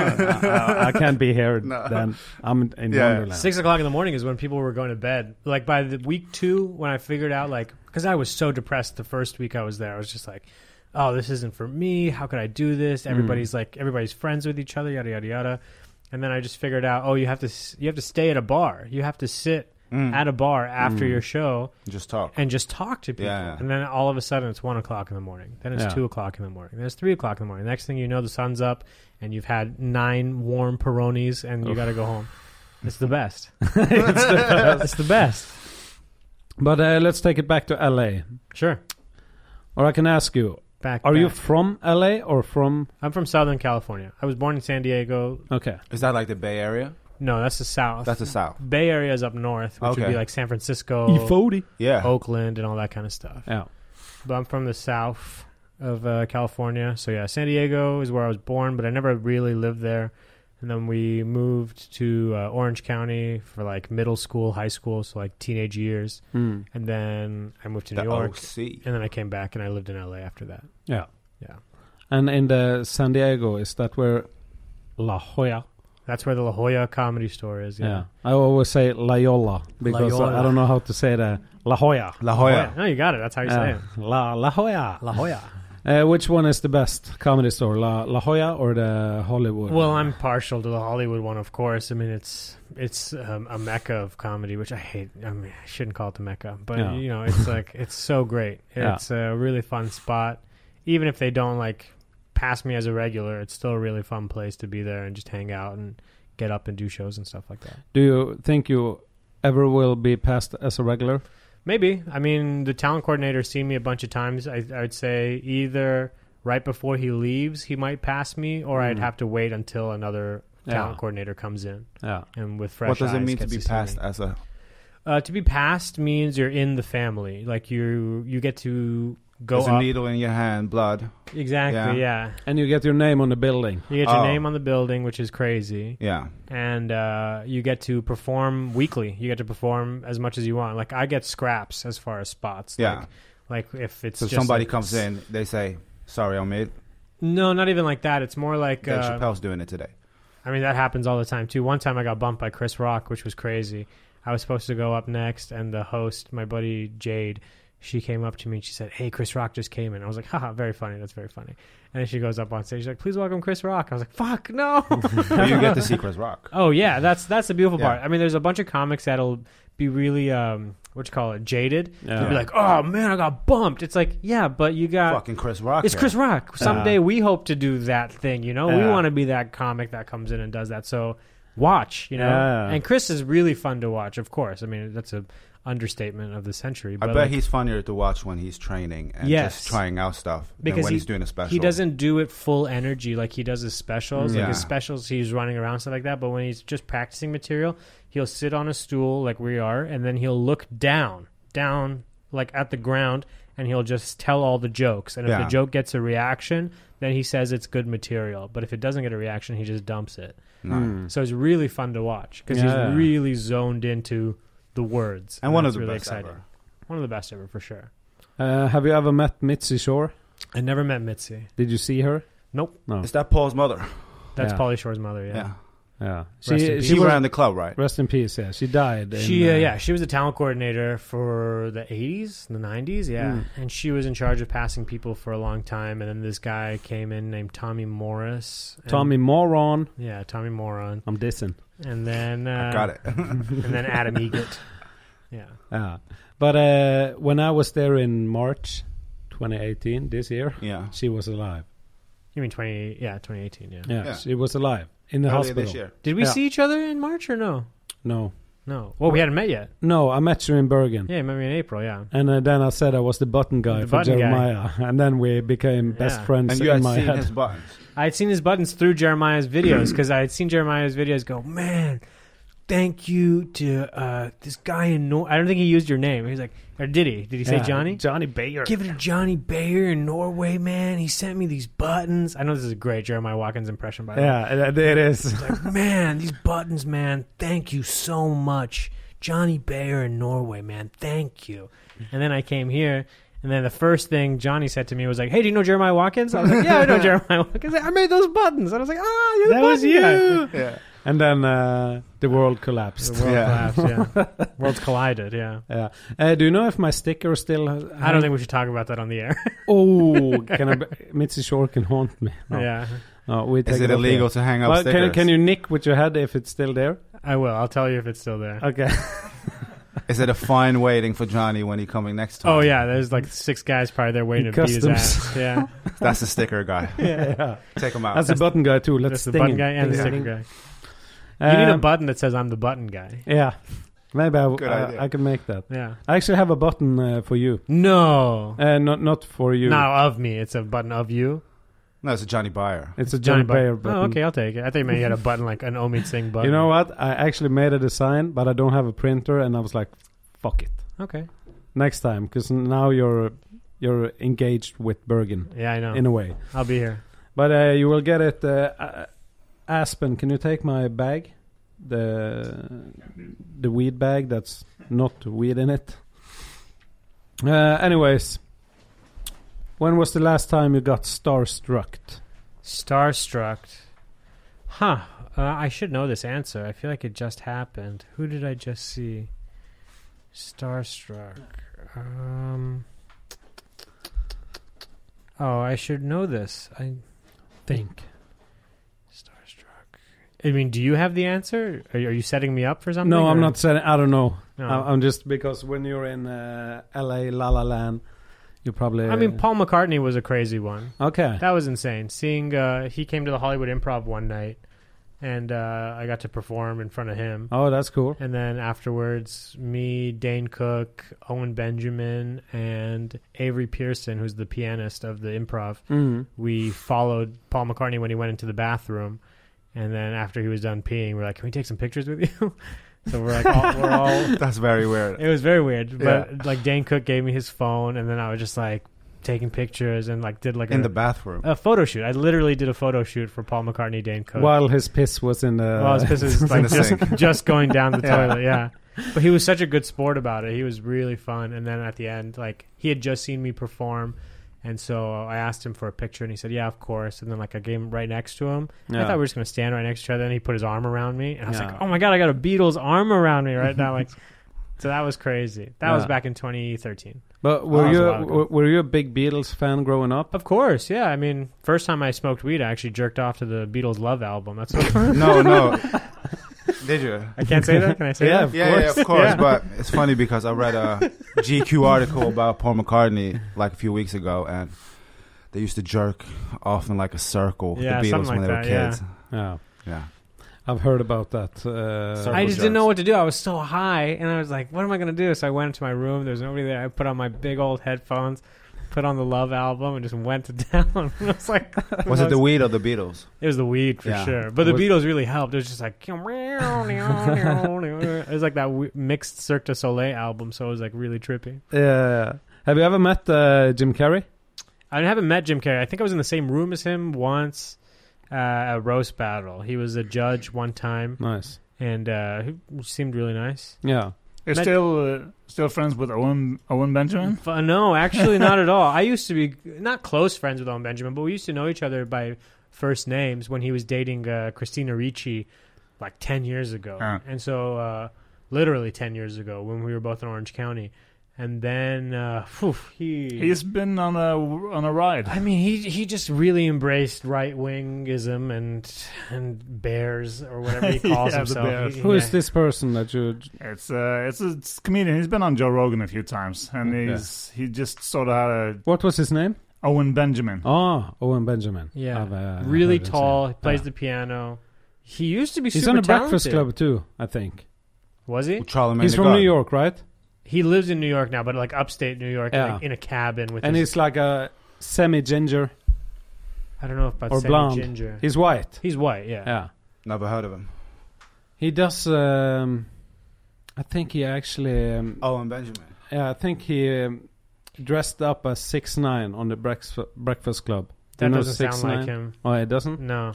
Speaker 2: I, I- I can't be here
Speaker 4: [LAUGHS] No.
Speaker 2: then. I'm in
Speaker 4: Yeah.
Speaker 2: Wonderland.
Speaker 3: Six o'clock in the morning is when people were going to bed. Like by the week two, when I figured out, like, because I was so depressed the first week I was there, I was just like, "Oh, this isn't for me. How could I do this?" Everybody's like, everybody's friends with each other, yada yada yada. And then I just figured out, oh, you have to s- you have to stay at a bar. You have to sit
Speaker 4: Mm.
Speaker 3: at a bar after
Speaker 2: Mm.
Speaker 3: your show
Speaker 4: Just talk.
Speaker 3: and just talk to people.
Speaker 4: Yeah.
Speaker 3: And then all of a sudden, it's one o'clock in the morning. Then it's
Speaker 2: Yeah.
Speaker 3: two o'clock in the morning. Then it's three o'clock in the morning. Next thing you know, the sun's up, and you've had nine warm Peronis, and you
Speaker 2: Oof.
Speaker 3: got to go home. [LAUGHS] It's the best.
Speaker 2: It's the best.
Speaker 3: it's the best.
Speaker 2: But uh, let's take it back to LA,
Speaker 3: Sure.
Speaker 2: or I can ask you:
Speaker 3: Back.
Speaker 2: Are you
Speaker 3: back.
Speaker 2: from LA or from?
Speaker 3: I'm from Southern California. I was born in San Diego.
Speaker 2: Okay,
Speaker 4: Is that like the Bay Area?
Speaker 3: No, that's the South.
Speaker 4: That's the South.
Speaker 3: Bay Area is up north, which would
Speaker 4: Okay.
Speaker 3: be like San Francisco,
Speaker 2: E40.
Speaker 4: Yeah.
Speaker 3: Oakland, and all that kind of stuff.
Speaker 2: Yeah.
Speaker 3: But I'm from the South of uh, California. So yeah, San Diego is where I was born, but I never really lived there. And then we moved to uh, Orange County for like middle school, high school, so like teenage years.
Speaker 2: Hmm.
Speaker 3: And then I moved to
Speaker 4: the
Speaker 3: New York,
Speaker 4: OC.
Speaker 3: and then I came back and I lived in LA after that.
Speaker 2: Yeah.
Speaker 3: Yeah.
Speaker 2: And in the San Diego, is that where La Jolla?
Speaker 3: That's where the La Jolla Comedy Store is.
Speaker 2: Yeah.
Speaker 3: Yeah.
Speaker 2: I always say La Jolla because
Speaker 3: La Jolla.
Speaker 2: I don't know how to say that. La Jolla.
Speaker 4: La Jolla.
Speaker 3: Oh, No, you got it. That's how you say
Speaker 2: Yeah.
Speaker 3: it.
Speaker 2: La, La Jolla.
Speaker 3: La Jolla.
Speaker 2: Uh, which one is the best comedy store, La, La Jolla or the Hollywood?
Speaker 3: Well, I'm partial to the Hollywood one, of course. I mean, it's it's um, a mecca of comedy, which I hate. I mean, I shouldn't call it the mecca, but
Speaker 2: No.
Speaker 3: you
Speaker 2: [LAUGHS]
Speaker 3: know, it's like it's so great.
Speaker 2: Yeah.
Speaker 3: It's a really fun spot. Even if they don't like pass me as a regular, it's still a really fun place to be there and just hang out and get up and do shows and stuff like that.
Speaker 2: Do you think you ever will be passed as a regular?
Speaker 3: Maybe. I mean, the talent coordinator's seen me a bunch of times. I, I'd say either right before he leaves, he might pass me, or I'd
Speaker 2: Mm.
Speaker 3: have to wait until another talent
Speaker 2: Yeah.
Speaker 3: coordinator comes in
Speaker 2: Yeah.
Speaker 3: and with fresh.
Speaker 4: What does it
Speaker 3: eyes
Speaker 4: mean to
Speaker 3: gets
Speaker 4: be
Speaker 3: see
Speaker 4: passed
Speaker 3: me.
Speaker 4: as a
Speaker 3: Uh, to be passed means you're in the family. Like you, you get to go
Speaker 4: There's
Speaker 3: up.
Speaker 4: a needle in your hand, blood.
Speaker 3: Exactly. Yeah.
Speaker 2: And you get your name on the building.
Speaker 3: You get your
Speaker 4: Oh.
Speaker 3: name on the building, which is crazy,
Speaker 4: Yeah.
Speaker 3: and uh, you get to perform weekly. You get to perform as much as you want. Like I get scraps as far as spots.
Speaker 4: Yeah.
Speaker 3: Like, like if it's
Speaker 4: So
Speaker 3: just
Speaker 4: somebody
Speaker 3: like-
Speaker 4: comes in, they say, "Sorry, Omid,
Speaker 3: No, not even like that. It's more like
Speaker 4: Dave
Speaker 3: uh,
Speaker 4: Chappelle's doing it today."
Speaker 3: I mean, that happens all the time too. One time I got bumped by Chris Rock, which was crazy. I was supposed to go up next, and the host, my buddy Jade, she came up to me and she said, "Hey, Chris Rock just came in." I was like, "Haha, very funny. That's very funny." And then she goes up on stage, she's like, "Please welcome Chris Rock." I was like, "Fuck no!"
Speaker 4: But you get to
Speaker 3: [LAUGHS]
Speaker 4: see Chris Rock.
Speaker 3: oh yeah, that's that's the beautiful
Speaker 4: Yeah.
Speaker 3: part. I mean, there's a bunch of comics that'll be really um, what you call it, jaded. They'll be
Speaker 2: Yeah.
Speaker 3: like, "Oh man, I got bumped." It's like, yeah, but you got
Speaker 4: Fucking Chris Rock.
Speaker 3: Uh, it's
Speaker 4: here.
Speaker 3: Chris Rock. Someday we hope to do that thing, you know? We
Speaker 2: Yeah.
Speaker 3: want to be that comic that comes in and does that. So watch, you know?
Speaker 2: Yeah.
Speaker 3: And Chris is really fun to watch, of course. I mean, that's a understatement of the century.
Speaker 4: I
Speaker 3: But
Speaker 4: bet
Speaker 3: like,
Speaker 4: he's funnier to watch when he's training and
Speaker 3: Yes.
Speaker 4: just trying out stuff than
Speaker 3: Because
Speaker 4: when
Speaker 3: he-
Speaker 4: he's doing a special.
Speaker 3: he doesn't do it full energy like he does his specials. Like his
Speaker 4: Yeah.
Speaker 3: specials, he's running around, stuff like that. But when he's just practicing material, he'll sit on a stool like we are, and then he'll look down, down, like at the ground, and he'll just tell all the jokes. And if
Speaker 4: Yeah.
Speaker 3: the joke gets a reaction, then he says it's good material. But if it doesn't get a reaction, he just dumps it.
Speaker 4: No.
Speaker 2: Mm.
Speaker 3: So it's really fun to watch because
Speaker 2: Yeah.
Speaker 3: he's really zoned into the words.
Speaker 4: And one of
Speaker 3: that's
Speaker 4: the
Speaker 3: really
Speaker 4: best
Speaker 3: exciting.
Speaker 4: ever.
Speaker 3: One of the best ever for sure.
Speaker 2: Uh, have you ever met Mitzi Shore?
Speaker 3: I never met Mitzi.
Speaker 2: Did you see her?
Speaker 3: Nope,
Speaker 2: No.
Speaker 4: Is that Paul's mother?
Speaker 3: that's
Speaker 2: Yeah.
Speaker 3: Polly Shore's mother.
Speaker 4: Yeah.
Speaker 3: yeah.
Speaker 2: Yeah.
Speaker 3: in
Speaker 2: She,
Speaker 3: peace.
Speaker 4: She,
Speaker 2: she was,
Speaker 4: ran the club, right?
Speaker 2: rest in peace, yeah. She died. in,
Speaker 3: She uh,
Speaker 2: uh,
Speaker 3: yeah, she was a talent coordinator for the 80s, the 90s, yeah.
Speaker 2: Mm.
Speaker 3: And she was in charge of passing people for a long time and then this guy came in named Tommy Morris. and-
Speaker 2: uh, Tommy Moron.
Speaker 3: Yeah, Tommy Moron.
Speaker 2: I'm dissing.
Speaker 3: And then uh,
Speaker 4: Got it. [LAUGHS]
Speaker 3: and then Adam Egett. Yeah.
Speaker 2: Yeah. But uh, when I was there in March 2018, this year,
Speaker 4: yeah.
Speaker 2: she was alive.
Speaker 3: You mean 20 yeah, 2018, yeah.
Speaker 2: Yeah,
Speaker 4: Yeah.
Speaker 2: she was alive in the
Speaker 4: Earlier
Speaker 2: hospital.
Speaker 4: this year.
Speaker 3: Did we
Speaker 2: Yeah.
Speaker 3: see each other in March or no?
Speaker 2: No.
Speaker 3: No. Well, we hadn't met yet.
Speaker 2: No, I met you in Bergen.
Speaker 3: Yeah, maybe in April, yeah.
Speaker 2: And uh, then I said I was the button guy
Speaker 3: The
Speaker 2: for
Speaker 3: button guy.
Speaker 2: Jeremiah. [LAUGHS] And then we became best
Speaker 3: Yeah.
Speaker 2: friends
Speaker 4: And you
Speaker 2: in
Speaker 4: had
Speaker 2: my
Speaker 4: seen
Speaker 2: head.
Speaker 4: his buttons.
Speaker 3: I had seen his buttons through Jeremiah's videos because I had seen Jeremiah's videos go, man, thank you to uh, this guy in Nor. I don't think he used your name. He's like, or did he? Did he say
Speaker 2: Yeah,
Speaker 3: Johnny?
Speaker 2: Johnny Bayer.
Speaker 3: Give it to Johnny Bayer in Norway, man. He sent me these buttons. I know this is a great Jeremiah Watkins impression, by the
Speaker 2: [LAUGHS]
Speaker 3: way.
Speaker 2: yeah, uh, it it
Speaker 4: [LAUGHS]
Speaker 2: is. [LAUGHS]
Speaker 3: Like, [LAUGHS] man, these buttons, man. Thank you so much. Johnny Bayer in Norway, man. Thank you. And then I came here, and then the first thing Johnny said to me was like, "Hey, do you know Jeremiah Watkins?" I was like, "Yeah, [LAUGHS] I know Jeremiah Watkins. He's like, I made those buttons." And I was like, "Ah, you're the
Speaker 2: That was
Speaker 3: button guy."
Speaker 2: you.
Speaker 4: [LAUGHS] Yeah.
Speaker 2: And then uh, the world collapsed.
Speaker 3: The world
Speaker 4: Yeah.
Speaker 3: collapsed. Yeah, [LAUGHS] worlds collided. Yeah.
Speaker 2: [LAUGHS] Yeah. Uh, do you know if my sticker still? Has,
Speaker 3: I don't think we should talk about that on the air.
Speaker 2: Oh,
Speaker 3: [LAUGHS]
Speaker 2: can I? be- Mitzi Shore can haunt me. No.
Speaker 3: yeah,
Speaker 2: No, we take
Speaker 4: Is it
Speaker 2: off
Speaker 4: illegal
Speaker 2: here.
Speaker 4: to hang up
Speaker 2: Well,
Speaker 4: stickers?
Speaker 2: can can you nick with your head if it's still
Speaker 3: [LAUGHS]
Speaker 2: there?
Speaker 3: I will. I'll tell you if it's still there. Oh, [LAUGHS]
Speaker 2: Okay.
Speaker 4: Is it a fine waiting for Johnny when he coming next time?
Speaker 3: Oh yeah, there's like six guys probably there waiting to beat his
Speaker 2: Customs.
Speaker 3: ass. [LAUGHS] Yeah,
Speaker 4: [LAUGHS] That's the sticker guy.
Speaker 2: [LAUGHS] yeah.
Speaker 4: Take him out.
Speaker 2: That's the button guy too. Let's
Speaker 3: that's the
Speaker 2: sting
Speaker 3: button
Speaker 2: him.
Speaker 3: guy and the
Speaker 2: Ding,
Speaker 3: sticker
Speaker 2: ding.
Speaker 3: guy. You need a
Speaker 2: Um,
Speaker 3: button that says "I'm the button guy."
Speaker 2: Yeah. Maybe I,
Speaker 4: Good
Speaker 2: I-
Speaker 4: idea.
Speaker 2: I can make that.
Speaker 3: Yeah.
Speaker 2: I actually have a button uh, for you.
Speaker 3: No.
Speaker 2: Uh, not not for you.
Speaker 3: Not of me. It's a button of you.
Speaker 4: no, it's a Johnny Buyer.
Speaker 2: It's a Johnny
Speaker 3: Button.
Speaker 2: Bayer button.
Speaker 3: Oh, okay. I'll take it. I think maybe you had a button like an Omid Singh button.
Speaker 2: You know what? I actually made a design, but I don't have a printer, and I was like, "Fuck it,
Speaker 3: Okay.
Speaker 2: next time," because now you're you're engaged with Bergen
Speaker 3: Yeah, I know.
Speaker 2: in a way.
Speaker 3: I'll be here.
Speaker 2: But uh, you will get it. Uh, uh, Aspen, can you take my bag, the the weed bag that's not weed in it? Uh, anyways, when was the last time you got starstruck?
Speaker 3: Starstruck. Huh. Uh, I should know this answer. I feel like it just happened. Who did I just see? Starstruck. Um. Oh, I should know this. I
Speaker 2: Think.
Speaker 3: starstruck. I mean, do you have the answer? Are you, are you setting me up for something?
Speaker 2: No, I'm
Speaker 3: or-
Speaker 2: not saying. I don't know.
Speaker 3: No.
Speaker 2: I- I'm just because when you're in uh, LA, La La Land, you probably.
Speaker 3: I mean, Paul McCartney was a crazy one.
Speaker 2: Okay.
Speaker 3: That was insane. Seeing uh, he came to the Hollywood Improv one night, and uh, I got to perform in front of him.
Speaker 2: oh, that's cool.
Speaker 3: And then afterwards, me, Dane Cook, Owen Benjamin, and Avery Pearson, who's the pianist of the improv,
Speaker 2: Mm.
Speaker 3: we followed Paul McCartney when he went into the bathroom. And then after he was done peeing, we're like, "Can we take some pictures with you?" [LAUGHS] so we're like, all,
Speaker 2: [LAUGHS]
Speaker 3: "We're all." [LAUGHS]
Speaker 4: That's very weird.
Speaker 3: It was very weird, but like Dane Cook gave me his phone, and then I was just like, taking pictures and like did like
Speaker 4: in
Speaker 3: a,
Speaker 4: the bathroom.
Speaker 3: a photo shoot. I literally did a photo shoot for Paul McCartney, Dane Cook.
Speaker 2: While his piss was in the.
Speaker 3: Well, I was pissed it was,
Speaker 4: [LAUGHS] in
Speaker 3: like
Speaker 4: the
Speaker 3: just,
Speaker 4: sink.
Speaker 3: just going down the
Speaker 4: [LAUGHS] Yeah.
Speaker 3: toilet, yeah. But he was such a good sport about it. He was really fun. And then at the end, like he had just seen me perform, and so I asked him for a picture, and he said, "Yeah, of course." And then like I gave him right next to him. I
Speaker 2: Yeah.
Speaker 3: thought we were just gonna stand right next to each other. And he put his arm around me, and I was
Speaker 2: Yeah.
Speaker 3: like, "Oh my god, I got a Beatles arm around me
Speaker 2: [LAUGHS]
Speaker 3: right now!" Like, so that was crazy. That was
Speaker 2: Yeah.
Speaker 3: back in 2013.
Speaker 2: But
Speaker 3: Oh,
Speaker 2: were
Speaker 3: that was
Speaker 2: you
Speaker 3: a while ago.
Speaker 2: w- were you a big Beatles fan growing up?
Speaker 3: Of course, yeah. I mean, first time I smoked weed, I actually jerked off to the Beatles' Love album.
Speaker 2: [LAUGHS]
Speaker 3: That's what,
Speaker 4: no, no. Did you?
Speaker 3: I can't say that. Can I say
Speaker 2: Yeah,
Speaker 3: that?
Speaker 2: Of
Speaker 4: yeah, yeah,
Speaker 2: course.
Speaker 4: of course.
Speaker 3: Yeah.
Speaker 4: But it's funny because I read a GQ article about Paul McCartney like a few weeks ago, and they used to jerk off in like a circle,
Speaker 3: Yeah,
Speaker 4: the Beatles
Speaker 3: something
Speaker 4: when they
Speaker 3: like
Speaker 4: were
Speaker 3: that, yeah.
Speaker 4: kids.
Speaker 2: Yeah,
Speaker 4: Yeah.
Speaker 2: I've heard about that. Uh,
Speaker 4: Sorry.
Speaker 3: I
Speaker 4: Circle
Speaker 3: just didn't know
Speaker 4: jerks.
Speaker 3: what to do. I was so high, and I was like, "What am I gonna do?" So I went into my room. There was nobody there. I put on my big old headphones, put on the Love album, and just went to [LAUGHS] town. I was like,
Speaker 4: Was it the weed or the Beatles?
Speaker 3: It was the weed for
Speaker 4: Yeah.
Speaker 3: sure, but the
Speaker 2: Was-
Speaker 3: Beatles really helped. It was just like [LAUGHS] it was like that w- mixed Cirque du Soleil album, so it was like really trippy.
Speaker 2: Yeah. Have you ever met uh, Jim Carrey?
Speaker 3: I haven't met Jim Carrey. I think I was in the same room as him once uh, at roast battle. He was a judge one time,
Speaker 2: Nice.
Speaker 3: and uh, he seemed really nice.
Speaker 2: Yeah.
Speaker 5: [LAUGHS] You're
Speaker 3: Met-
Speaker 5: still uh, still friends with Owen Owen Benjamin.
Speaker 3: F- No, actually, not at all. I used to be not close friends with Owen Benjamin, but we used to know each other by first names when he was dating uh, Christina Ricci like 10 years ago.
Speaker 5: Uh.
Speaker 3: And so, uh, literally 10 years ago when we were both in Orange County. And then, uh, phew, he.
Speaker 5: He's been on a on a ride.
Speaker 3: I mean, he he just really embraced right wingism and and bears or whatever he calls
Speaker 5: [LAUGHS] Yeah, the
Speaker 3: himself.
Speaker 5: bears.
Speaker 3: He-
Speaker 2: Who is
Speaker 3: yeah. this?
Speaker 2: this person that you?
Speaker 5: It's uh, it's a it's a comedian. He's been on Joe Rogan a few times, and
Speaker 2: Okay.
Speaker 5: he's he just sort of had a
Speaker 2: What was his name?
Speaker 5: Owen Benjamin.
Speaker 2: Oh, Owen Benjamin.
Speaker 3: Yeah.
Speaker 2: I've, uh,
Speaker 3: really
Speaker 2: heard his
Speaker 3: tall.
Speaker 2: name.
Speaker 3: He plays
Speaker 2: Yeah.
Speaker 3: the piano. He used to be
Speaker 2: He's on
Speaker 3: super
Speaker 2: the
Speaker 3: talented.
Speaker 2: Breakfast Club too, I think.
Speaker 3: Was he?
Speaker 4: Charlemagne
Speaker 2: He's
Speaker 4: the
Speaker 2: from
Speaker 4: God.
Speaker 2: New York, right?
Speaker 3: He lives in New York now, but like upstate New York,
Speaker 2: Yeah.
Speaker 3: like in a cabin with.
Speaker 2: And
Speaker 3: his,
Speaker 2: he's like a semi-ginger.
Speaker 3: I don't know if
Speaker 2: or
Speaker 3: about
Speaker 2: blonde.
Speaker 3: saying ginger.
Speaker 2: He's white.
Speaker 3: He's white, yeah.
Speaker 2: Yeah.
Speaker 4: Never heard of him.
Speaker 2: He does. Um, I think he actually. Um,
Speaker 4: Oh, and Benjamin.
Speaker 2: Yeah, I think he um, dressed up as six nine on the Breakfast Breakfast Club.
Speaker 3: That
Speaker 2: You know
Speaker 3: doesn't sound
Speaker 2: 6ix9ine?
Speaker 3: like him.
Speaker 2: Oh, it doesn't.
Speaker 3: No,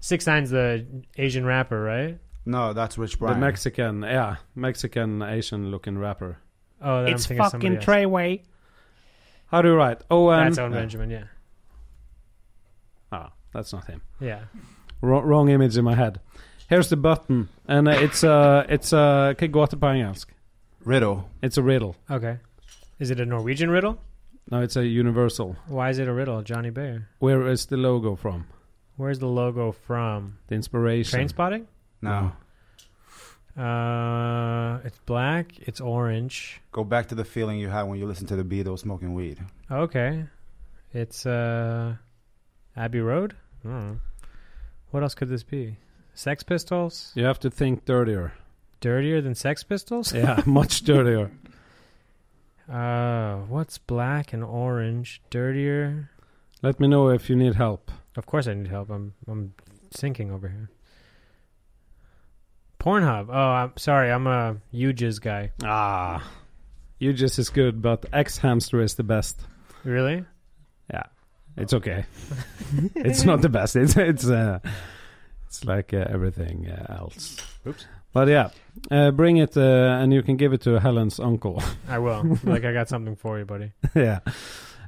Speaker 3: Six Nine's the Asian rapper, right?
Speaker 4: No, that's Rich Brian.
Speaker 2: The Mexican, yeah, Mexican Asian looking rapper.
Speaker 3: Oh, then I'm thinking of somebody else.
Speaker 2: Treyway. How do you write? Oh, um,
Speaker 3: That's Owen
Speaker 4: Yeah.
Speaker 3: Benjamin, yeah,
Speaker 2: oh, that's not him.
Speaker 3: yeah.
Speaker 2: Wr- wrong image in my head. Here's the button, and uh, it's uh, it's uh, kan gå till på engelsk.
Speaker 4: Riddle.
Speaker 2: It's a riddle.
Speaker 3: Okay, is it a Norwegian riddle?
Speaker 2: No, it's a universal.
Speaker 3: Why is it a riddle, Johnny Bear?
Speaker 2: Where is the logo from?
Speaker 3: Where's the logo from?
Speaker 2: The inspiration.
Speaker 3: Train spotting?
Speaker 4: No.
Speaker 2: No.
Speaker 3: Uh, it's black. It's orange.
Speaker 4: Go back to the feeling you had when you listened to the Beatles smoking weed.
Speaker 3: Okay. It's uh Abbey Road? I don't know. What else could this be? Sex Pistols?
Speaker 2: You have to think dirtier.
Speaker 3: Dirtier than Sex Pistols?
Speaker 2: Yeah, [LAUGHS] much dirtier.
Speaker 3: Uh what's black and orange? Dirtier?
Speaker 2: Let me know if you need help.
Speaker 3: Of course I need help. I'm I'm sinking over here. Pornhub. Oh, I'm sorry. I'm a UJIS guy.
Speaker 2: Ah, you just is good, but X Hamster is the best.
Speaker 3: Really?
Speaker 2: It's okay.
Speaker 3: [LAUGHS]
Speaker 2: it's not the best. It's it's uh, it's like uh, everything uh, else.
Speaker 3: Oops.
Speaker 2: But yeah, uh, bring it uh, and you can give it to Helen's uncle. [LAUGHS]
Speaker 3: I will. like I got something for you, buddy.
Speaker 2: yeah.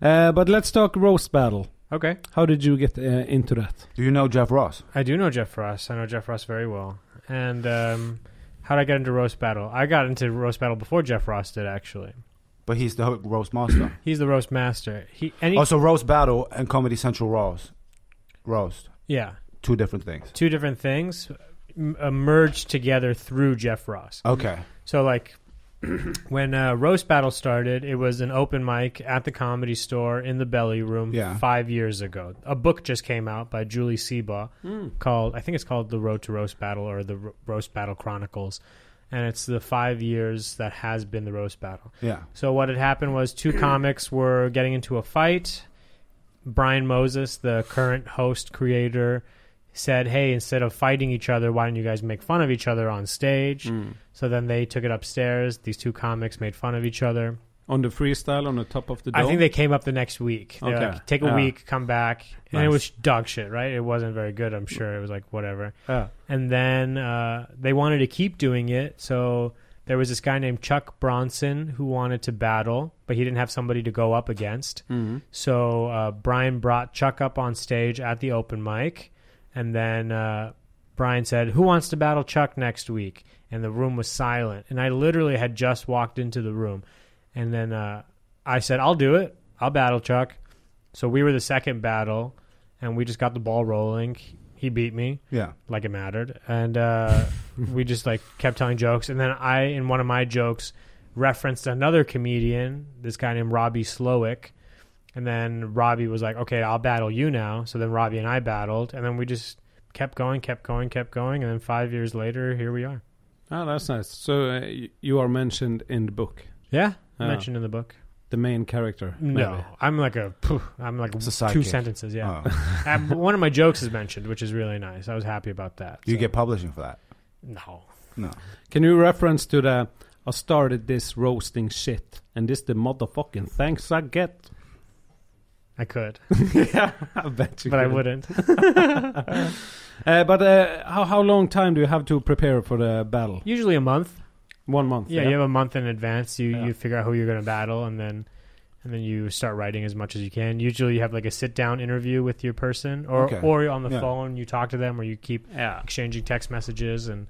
Speaker 2: Uh, but let's talk roast battle.
Speaker 3: Okay.
Speaker 2: How did you get uh, into that?
Speaker 4: Do you know Jeff Ross?
Speaker 3: I do know Jeff Ross. I know Jeff Ross very well. And um, how did I get into roast battle? I got into roast battle before Jeff Ross did. Actually,
Speaker 4: But he's the roast master.
Speaker 3: he's the roast master. He and [CLEARS THROAT] he,
Speaker 4: also, roast battle and Comedy Central roast. Roast.
Speaker 3: yeah,
Speaker 4: Two different things.
Speaker 3: two different things m- uh, merged together through Jeff Ross.
Speaker 4: Okay.
Speaker 3: So like [CLEARS THROAT] when uh, roast battle started, it was an open mic at the comedy store in the belly room
Speaker 4: Yeah.
Speaker 3: five years ago. A book just came out by Julie Seba called I think it's called The Road to Roast Battle or The Ro- Roast Battle Chronicles, and it's the five years that has been the roast battle.
Speaker 4: Yeah.
Speaker 3: So what had happened was two comics were getting into a fight. Brian Moses, the current host creator, said, "Hey, instead of fighting each other, why don't you guys make fun of each other on stage?" So then they took it upstairs. These two comics made fun of each other.
Speaker 2: on the freestyle on the top of the dome.
Speaker 3: I think they came up the next week. They were
Speaker 2: Okay.
Speaker 3: like, take a
Speaker 2: Yeah.
Speaker 3: week, come back, and it
Speaker 2: Nice.
Speaker 3: was dog shit, right? It wasn't very good. I'm sure it was like whatever.
Speaker 2: Yeah.
Speaker 3: And then uh, they wanted to keep doing it, so there was this guy named Chuck Bronson who wanted to battle, but he didn't have somebody to go up against.
Speaker 2: Mhm.
Speaker 3: So uh, Brian brought Chuck up on stage at the open mic, and then uh, Brian said, "Who wants to battle Chuck next week?" And the room was silent. And I literally had just walked into the room, and then uh, I said, "I'll do it. I'll battle Chuck." So we were the second battle, and we just got the ball rolling. He beat me
Speaker 4: Yeah.
Speaker 3: like it mattered, and
Speaker 4: [LAUGHS]
Speaker 3: uh, we just like kept telling jokes. And then I, in one of my jokes, referenced another comedian, this guy named Robbie Slowick. And then Robbie was like, "Okay, I'll battle you now." So then Robbie and I battled, and then we just kept going, kept going, kept going, and then five years later, here we are.
Speaker 2: Oh, that's nice. So uh, y- you are mentioned in the book,
Speaker 3: Yeah,
Speaker 2: Oh.
Speaker 3: mentioned in the book.
Speaker 2: the main character.
Speaker 3: No,
Speaker 2: maybe.
Speaker 3: I'm like a, phew, I'm like
Speaker 4: It's a
Speaker 3: two
Speaker 4: sidekick.
Speaker 3: sentences. Yeah,
Speaker 4: [LAUGHS] Oh.
Speaker 3: And one of my jokes is mentioned, which is really nice. I was happy about that.
Speaker 4: You
Speaker 3: So-
Speaker 4: get publishing for that.
Speaker 3: no.
Speaker 4: No.
Speaker 2: Can you reference to the? I started this roasting shit, and this the motherfucking thanks I
Speaker 3: [LAUGHS]
Speaker 2: get. [LAUGHS]
Speaker 3: I could,
Speaker 2: yeah, I bet you.
Speaker 3: but I
Speaker 2: could.
Speaker 3: wouldn't.
Speaker 2: [LAUGHS] Uh, but uh, how how long time do you have to prepare for the battle?
Speaker 3: Usually a month.
Speaker 2: One month.
Speaker 3: Yeah, you have a month in advance. You
Speaker 2: Yeah.
Speaker 3: you figure out who you're going to battle, and then and then you start writing as much as you can. Usually, you have like a sit down interview with your person, or
Speaker 4: Okay.
Speaker 3: or on the
Speaker 4: Yeah.
Speaker 3: phone you talk to them, or you keep
Speaker 2: yeah.
Speaker 3: exchanging text messages, and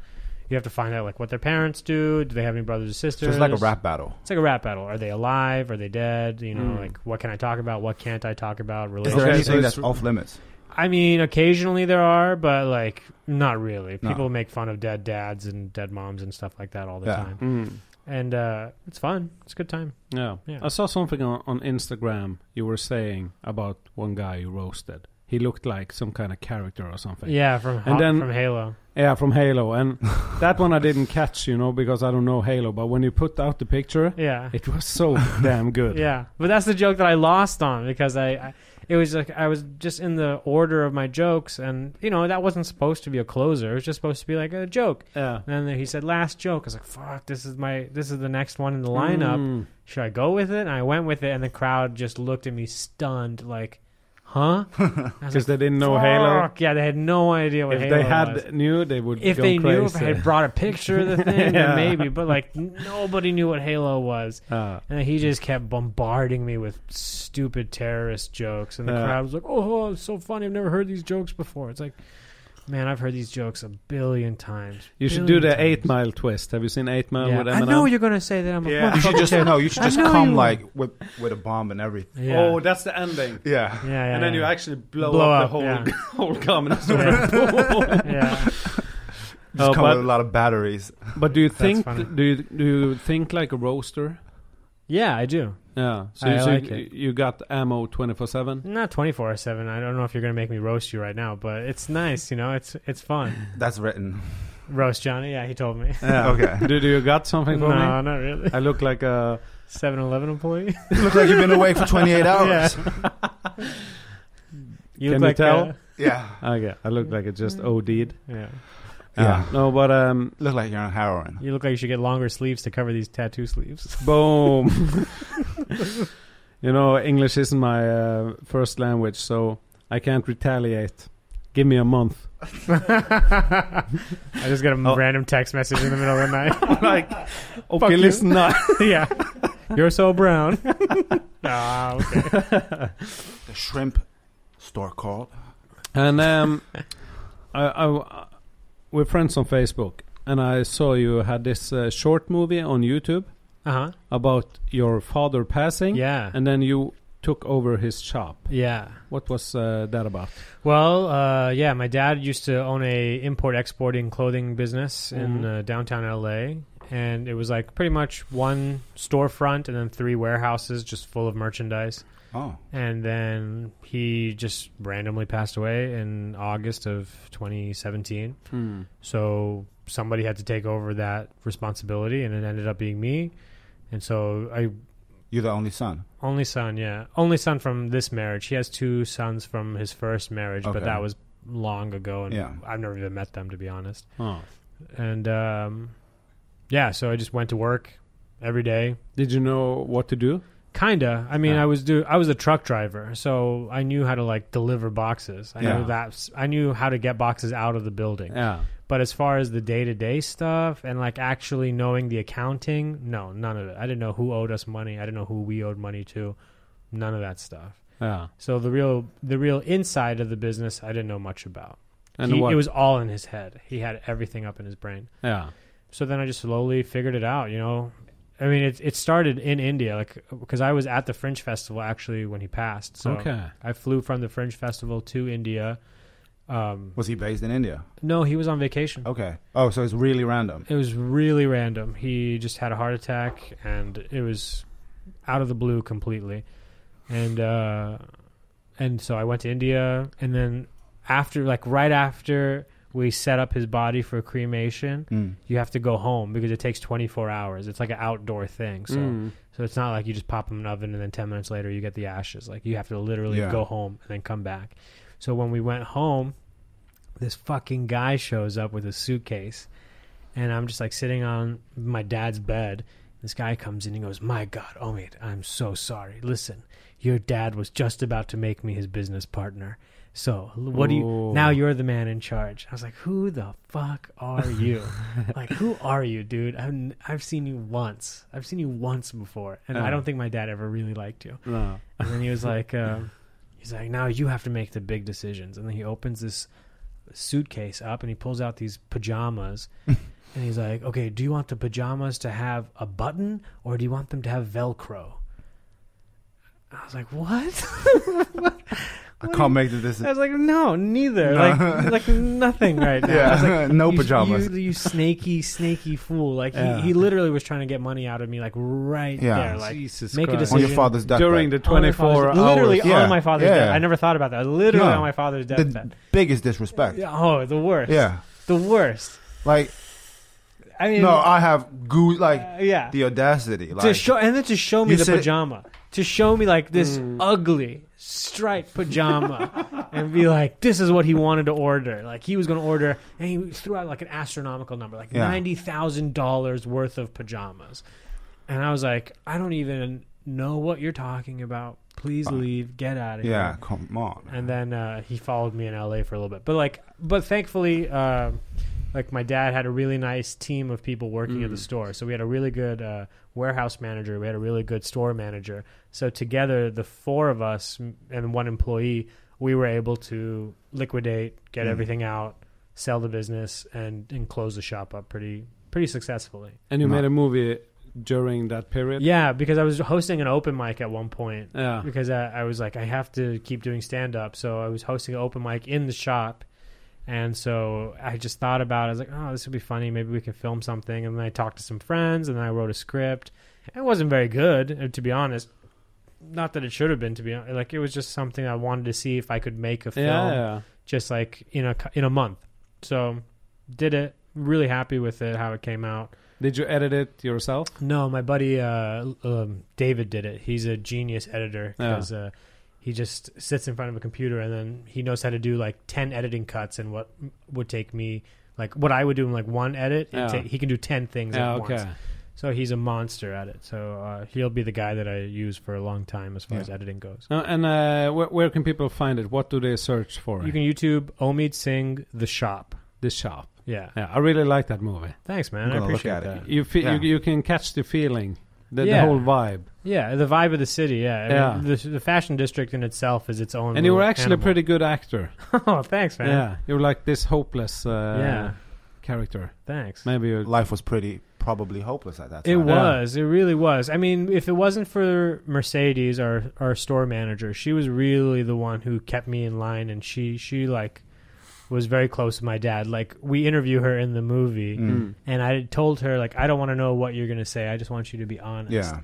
Speaker 3: you have to find out like what their parents do. Do they have any brothers or
Speaker 4: So
Speaker 3: sisters?
Speaker 4: it's like a rap battle.
Speaker 3: It's like a rap battle. Are they alive? Are they dead? You know,
Speaker 2: Mm.
Speaker 3: like what can I talk about? What can't I talk about?
Speaker 4: Hmm. Is
Speaker 3: Relationships.
Speaker 4: there
Speaker 2: Okay,
Speaker 4: anything
Speaker 2: so it's-
Speaker 4: that's off limits?
Speaker 3: I mean, occasionally there are, but like not really.
Speaker 4: No.
Speaker 3: People make fun of dead dads and dead moms and stuff like that all the
Speaker 4: Yeah.
Speaker 3: time,
Speaker 2: Mm.
Speaker 3: and uh, it's fun. It's a good time.
Speaker 2: Yeah.
Speaker 3: Yeah.
Speaker 2: I saw something on, on Instagram you were saying about one guy you roasted. He looked like some kind of character or something.
Speaker 3: Yeah, from
Speaker 2: And then-
Speaker 3: from Halo.
Speaker 2: Yeah, from Halo. And that one I didn't catch, you know, because I don't know Halo. But when you put out the picture,
Speaker 3: Yeah,
Speaker 2: it was so [LAUGHS] damn good.
Speaker 3: yeah. But that's the joke that I lost on because I, I, it was like I was just in the order of my jokes, and you know that wasn't supposed to be a closer. It was just supposed to be like a joke.
Speaker 2: Yeah.
Speaker 3: And then he said last joke. I was like, fuck, this is my this is the next one in the lineup.
Speaker 2: Mm.
Speaker 3: Should I go with it? And I went with it, and the crowd just looked at me stunned, like, huh?
Speaker 2: Because they didn't know Halo.
Speaker 3: Fuck. Yeah, they had no idea what
Speaker 2: If
Speaker 3: Halo
Speaker 2: they had
Speaker 3: was.
Speaker 2: knew, they would
Speaker 3: if
Speaker 2: go
Speaker 3: they
Speaker 2: crazy.
Speaker 3: knew if I had brought a picture of the thing,
Speaker 2: [LAUGHS] Yeah.
Speaker 3: then maybe. But like nobody knew what Halo was,
Speaker 2: Yeah.
Speaker 3: and he just kept bombarding me with stupid terrorist jokes, and the
Speaker 2: Yeah.
Speaker 3: crowd was like, "Oh, it's so funny! I've never heard these jokes before." It's like, man, I've heard these jokes a billion times.
Speaker 2: you should do
Speaker 3: Billion
Speaker 2: the Eight
Speaker 3: times.
Speaker 2: Mile twist. Have you seen Eight Mile
Speaker 3: Yeah.
Speaker 2: with
Speaker 3: I
Speaker 2: Eminem?
Speaker 3: know you're gonna say that. I'm a
Speaker 2: Yeah. [LAUGHS]
Speaker 4: You
Speaker 3: motherfucker.
Speaker 4: should just no. You should
Speaker 3: I
Speaker 4: just
Speaker 3: know
Speaker 4: come
Speaker 3: you-
Speaker 4: like with with a bomb and everything.
Speaker 3: Yeah.
Speaker 2: Oh, that's the ending.
Speaker 4: Yeah.
Speaker 3: yeah, yeah,
Speaker 2: and then
Speaker 3: yeah.
Speaker 2: you actually blow,
Speaker 3: Blow
Speaker 2: up,
Speaker 3: up,
Speaker 2: the whole
Speaker 3: yeah.
Speaker 2: [LAUGHS]
Speaker 3: Oh,
Speaker 2: whole
Speaker 3: [LAUGHS]
Speaker 2: comedy store. [LAUGHS]
Speaker 3: Yeah. yeah.
Speaker 4: Just
Speaker 2: Oh,
Speaker 4: come
Speaker 2: but-
Speaker 4: with a lot of batteries.
Speaker 2: But do you think
Speaker 3: funny.
Speaker 2: do you, do you think like a roaster?
Speaker 3: Yeah, I do.
Speaker 2: Yeah. So,
Speaker 3: I
Speaker 2: you, so
Speaker 3: like
Speaker 2: you-
Speaker 3: it.
Speaker 2: you got ammo twenty four seven.
Speaker 3: Not twenty four seven. I don't know if you're gonna make me roast you right now, but it's nice. You know, it's it's fun.
Speaker 4: That's [LAUGHS] written.
Speaker 3: Roast Johnny. Yeah, he told me.
Speaker 2: [LAUGHS]
Speaker 4: Okay.
Speaker 2: Do, do you got something for
Speaker 3: no,
Speaker 2: me?
Speaker 3: not really. [LAUGHS]
Speaker 2: I look like a
Speaker 3: 7 Eleven employee? [LAUGHS]
Speaker 4: Looks like you've been awake for 28 [LAUGHS] hours.
Speaker 3: You
Speaker 2: Can you
Speaker 3: look like
Speaker 2: tell?
Speaker 3: a-
Speaker 4: Yeah.
Speaker 2: okay, I look like a just OD'd.
Speaker 3: yeah.
Speaker 4: Yeah.
Speaker 2: No, but um,
Speaker 4: Look like you're on heroin.
Speaker 3: You look like you should get longer sleeves to cover these
Speaker 2: [LAUGHS]
Speaker 3: tattoo sleeves. [LAUGHS]
Speaker 2: boom. you know, English isn't my uh, first language, so I can't retaliate. Give me a month.
Speaker 3: I just got a
Speaker 2: Oh.
Speaker 3: random text message in the middle of the night.
Speaker 2: [LAUGHS]
Speaker 3: [LAUGHS]
Speaker 2: like, okay,
Speaker 3: you.
Speaker 2: listen [LAUGHS] up.
Speaker 3: [LAUGHS] yeah. You're
Speaker 2: [LAUGHS]
Speaker 3: so brown. [LAUGHS] ah, okay.
Speaker 4: The shrimp store called.
Speaker 2: And um, I, I- we're friends on Facebook, and I saw you had this uh, short movie on YouTube
Speaker 3: Uh-huh.
Speaker 2: about your father passing,
Speaker 3: Yeah.
Speaker 2: and then you took over his shop.
Speaker 3: Yeah.
Speaker 2: What was uh, that about?
Speaker 3: Well, uh, yeah, my dad used to own a import exporting clothing business in
Speaker 2: Mhm.
Speaker 3: uh, downtown LA, and it was like pretty much one storefront and then three warehouses just full of merchandise.
Speaker 4: Oh.
Speaker 3: And then he just randomly passed away in August of 2017.
Speaker 4: Hmm.
Speaker 3: So somebody had to take over that responsibility, and it ended up being me. And so I
Speaker 4: You're the only son.
Speaker 3: only son, yeah. Only son from this marriage. He has two sons from his first marriage, but
Speaker 4: Okay.
Speaker 3: that was long ago, and
Speaker 4: Yeah.
Speaker 3: I've never even met them to be honest.
Speaker 2: Oh.
Speaker 3: And um, yeah, so I just went to work, every day.
Speaker 2: Did you know what to do?
Speaker 3: Kinda. I mean,
Speaker 4: Yeah.
Speaker 3: I was do I was a truck driver, so I knew how to like deliver boxes. I
Speaker 4: Yeah.
Speaker 3: knew that I knew how to get boxes out of the building.
Speaker 2: Yeah.
Speaker 3: But as far as the day to day stuff and like actually knowing the accounting, no, none of it. I didn't know who owed us money. I didn't know who we owed money to. None of that stuff.
Speaker 2: Yeah.
Speaker 3: So the real the real inside of the business, I didn't know much about.
Speaker 2: And
Speaker 3: He-
Speaker 2: what?
Speaker 3: it was all in his head. He had everything up in his brain.
Speaker 2: yeah.
Speaker 3: So then I just slowly figured it out. You know, I mean, it it started in India, like because I was at the Fringe Festival actually when he passed. So
Speaker 2: Okay.
Speaker 3: I flew from the Fringe Festival to India. Um,
Speaker 4: Was he based in India?
Speaker 3: no, he was on vacation.
Speaker 4: Okay. Oh, so it's really random.
Speaker 3: It was really random. He just had a heart attack, and it was out of the blue completely. And uh, and so I went to India, and then after, like right after we set up his body for cremation,
Speaker 4: Mm.
Speaker 3: you have to go home because it takes 24 hours. It's like an outdoor thing, so
Speaker 2: Mm.
Speaker 3: so it's not like you just pop them in an oven and then 10 minutes later you get the ashes. Like you have to literally
Speaker 4: Yeah.
Speaker 3: go home and then come back. So when we went home, this fucking guy shows up with a suitcase and I'm just like sitting on my dad's bed. This guy comes in and goes, My God, Omid, I'm so sorry. Listen, your dad was just about to make me his business partner. So what do you
Speaker 2: Ooh.
Speaker 3: now you're the man in charge. I was like, Who the fuck are you? like who are you dude I've, n- I've seen you once i've seen you once before and
Speaker 4: Uh-huh.
Speaker 3: i
Speaker 2: Uh.
Speaker 3: don't think my dad ever really liked you
Speaker 2: No.
Speaker 3: and then he was like
Speaker 4: [LAUGHS]
Speaker 3: um, he's like now you have to make the big decisions and then he opens this suitcase up and he pulls out these
Speaker 4: [LAUGHS]
Speaker 3: pajamas and he's like okay do you want the pajamas to have a button or do you want them to have velcro i was like what [LAUGHS]
Speaker 4: I
Speaker 3: What do
Speaker 4: can't
Speaker 3: you-
Speaker 4: make the
Speaker 3: I
Speaker 4: [LAUGHS] decision.
Speaker 3: was like, no, neither.
Speaker 4: No.
Speaker 3: Like, like nothing
Speaker 4: [LAUGHS]
Speaker 3: right now.
Speaker 4: Yeah.
Speaker 3: I was like,
Speaker 4: No
Speaker 3: you-
Speaker 4: pajamas.
Speaker 3: You, you
Speaker 4: [LAUGHS]
Speaker 3: snaky, snaky fool. Like,
Speaker 2: Yeah.
Speaker 3: he, he literally was trying to get money out of me, like, right
Speaker 4: Yeah.
Speaker 3: there. Like,
Speaker 2: Jesus
Speaker 3: make a
Speaker 2: Christ.
Speaker 4: On
Speaker 3: decision
Speaker 4: your father's deathbed.
Speaker 2: During the 24
Speaker 3: on my father's- Literally
Speaker 2: hours.
Speaker 4: Yeah.
Speaker 3: on my father's
Speaker 4: Yeah.
Speaker 3: death. I never thought about that. I was literally
Speaker 4: No.
Speaker 3: on my father's deathbed.
Speaker 4: the biggest disrespect. Yeah.
Speaker 3: Yeah, oh, the worst. The worst.
Speaker 4: Like,
Speaker 3: I mean,
Speaker 4: no, I have goose, like,
Speaker 3: uh, yeah.
Speaker 4: the audacity. Like,
Speaker 3: to show and then to show me
Speaker 4: You
Speaker 3: the
Speaker 4: said- Mm.
Speaker 3: pajama to show me like this ugly striped
Speaker 4: [LAUGHS]
Speaker 3: pajama and be like this is what he wanted to order like he was going to order and he threw out like an astronomical number like
Speaker 4: Yeah.
Speaker 3: $90000 worth of pajamas and i was like i don't even know what you're talking about please
Speaker 4: Fine.
Speaker 3: leave get out of
Speaker 4: yeah,
Speaker 3: here
Speaker 4: come on.
Speaker 3: and then uh, he followed me in la for a little bit but like but thankfully uh, like my dad had a really nice team of people working at the
Speaker 2: Mm.
Speaker 3: store so we had a really good uh, warehouse manager we had a really good store manager so together the four of us m- and one employee we were able to liquidate get
Speaker 4: Mm.
Speaker 3: everything out sell the business and and close the shop up pretty pretty successfully
Speaker 2: And you
Speaker 4: No.
Speaker 2: made a movie during that period?
Speaker 3: yeah because i was hosting an open mic at one point
Speaker 2: Yeah.
Speaker 3: because I, I was like, I have to keep doing stand up. So I was hosting an open mic in the shop. And so I just thought about it. I was like, oh, this would be funny. Maybe we can film something. And then I talked to some friends and then I wrote a script. It wasn't very good, uh, to be honest. Not that it should have been, to be honest. Like, it was just something I wanted to see if I could make a
Speaker 2: Yeah.
Speaker 3: film
Speaker 2: yeah.
Speaker 3: just like in a, cou- in a month. So did it. Really happy with it, how it came out.
Speaker 2: Did you edit it yourself?
Speaker 3: No, my buddy uh, um, David did it. He's a genius editor because uh, he just sits in front of a computer and then he knows how to do like ten editing cuts and what would take me like what I would do in like one edit. it
Speaker 2: Yeah.
Speaker 3: ta- he can do ten things
Speaker 2: Yeah,
Speaker 3: at
Speaker 2: okay.
Speaker 3: once. So he's a monster at it. So uh, he'll be the guy that I use for a long time as far
Speaker 4: Yeah.
Speaker 3: as editing goes.
Speaker 2: Uh, and uh, where, where can people find it? What do they search for?
Speaker 3: You can YouTube Omid Singh the shop.
Speaker 2: the shop.
Speaker 3: Yeah,
Speaker 2: Yeah, I really like that movie.
Speaker 3: thanks, man.
Speaker 4: I'm
Speaker 3: I
Speaker 4: gonna look
Speaker 3: appreciate
Speaker 4: at it.
Speaker 3: that.
Speaker 2: You fe-
Speaker 4: Yeah.
Speaker 2: you, you can catch the feeling, the,
Speaker 3: Yeah.
Speaker 2: the whole vibe.
Speaker 3: Yeah, the vibe of the city. Yeah, I
Speaker 2: Yeah.
Speaker 3: mean, the, the fashion district in itself is its own.
Speaker 2: And you were
Speaker 3: little
Speaker 2: actually a
Speaker 3: animal.
Speaker 2: pretty good actor.
Speaker 3: [LAUGHS] oh, thanks, man.
Speaker 2: Yeah, you were like this hopeless uh,
Speaker 3: yeah.
Speaker 2: character.
Speaker 3: Thanks.
Speaker 2: Maybe you
Speaker 4: Life was pretty, probably hopeless at that time.
Speaker 3: It was. It really was. I mean, if it wasn't for Mercedes, our our store manager, she was really the one who kept me in line, and she she like was very close to my dad. Like we interview her in the movie,
Speaker 4: Mm.
Speaker 3: and I told her like I don't want to know what you're gonna say. I just want you to be honest.
Speaker 4: Yeah.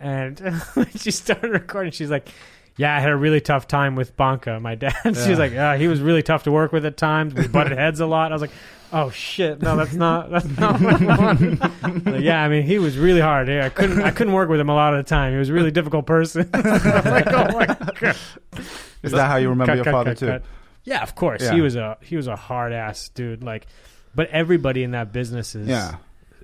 Speaker 3: And [LAUGHS] when she started recording. She's like. Yeah, I had a really tough time with Bonka, my dad. [LAUGHS] She's
Speaker 2: Yeah.
Speaker 3: like, uh, he was really tough to work with at times. We butted heads a lot. I was like, oh shit, no, that's not that's
Speaker 4: [LAUGHS]
Speaker 3: not what I wanted. Like, yeah, I mean, he was really hard. Yeah, I couldn't I couldn't work with him a lot of the time. He was a really difficult person. [LAUGHS] I was like, oh my god.
Speaker 4: Is that how you remember
Speaker 3: Cut,
Speaker 4: your
Speaker 3: cut,
Speaker 4: father
Speaker 3: cut,
Speaker 4: too?
Speaker 3: cut. Yeah, of course.
Speaker 4: Yeah.
Speaker 3: He was a he was a hard ass dude. Like, but everybody in that business is
Speaker 4: Yeah.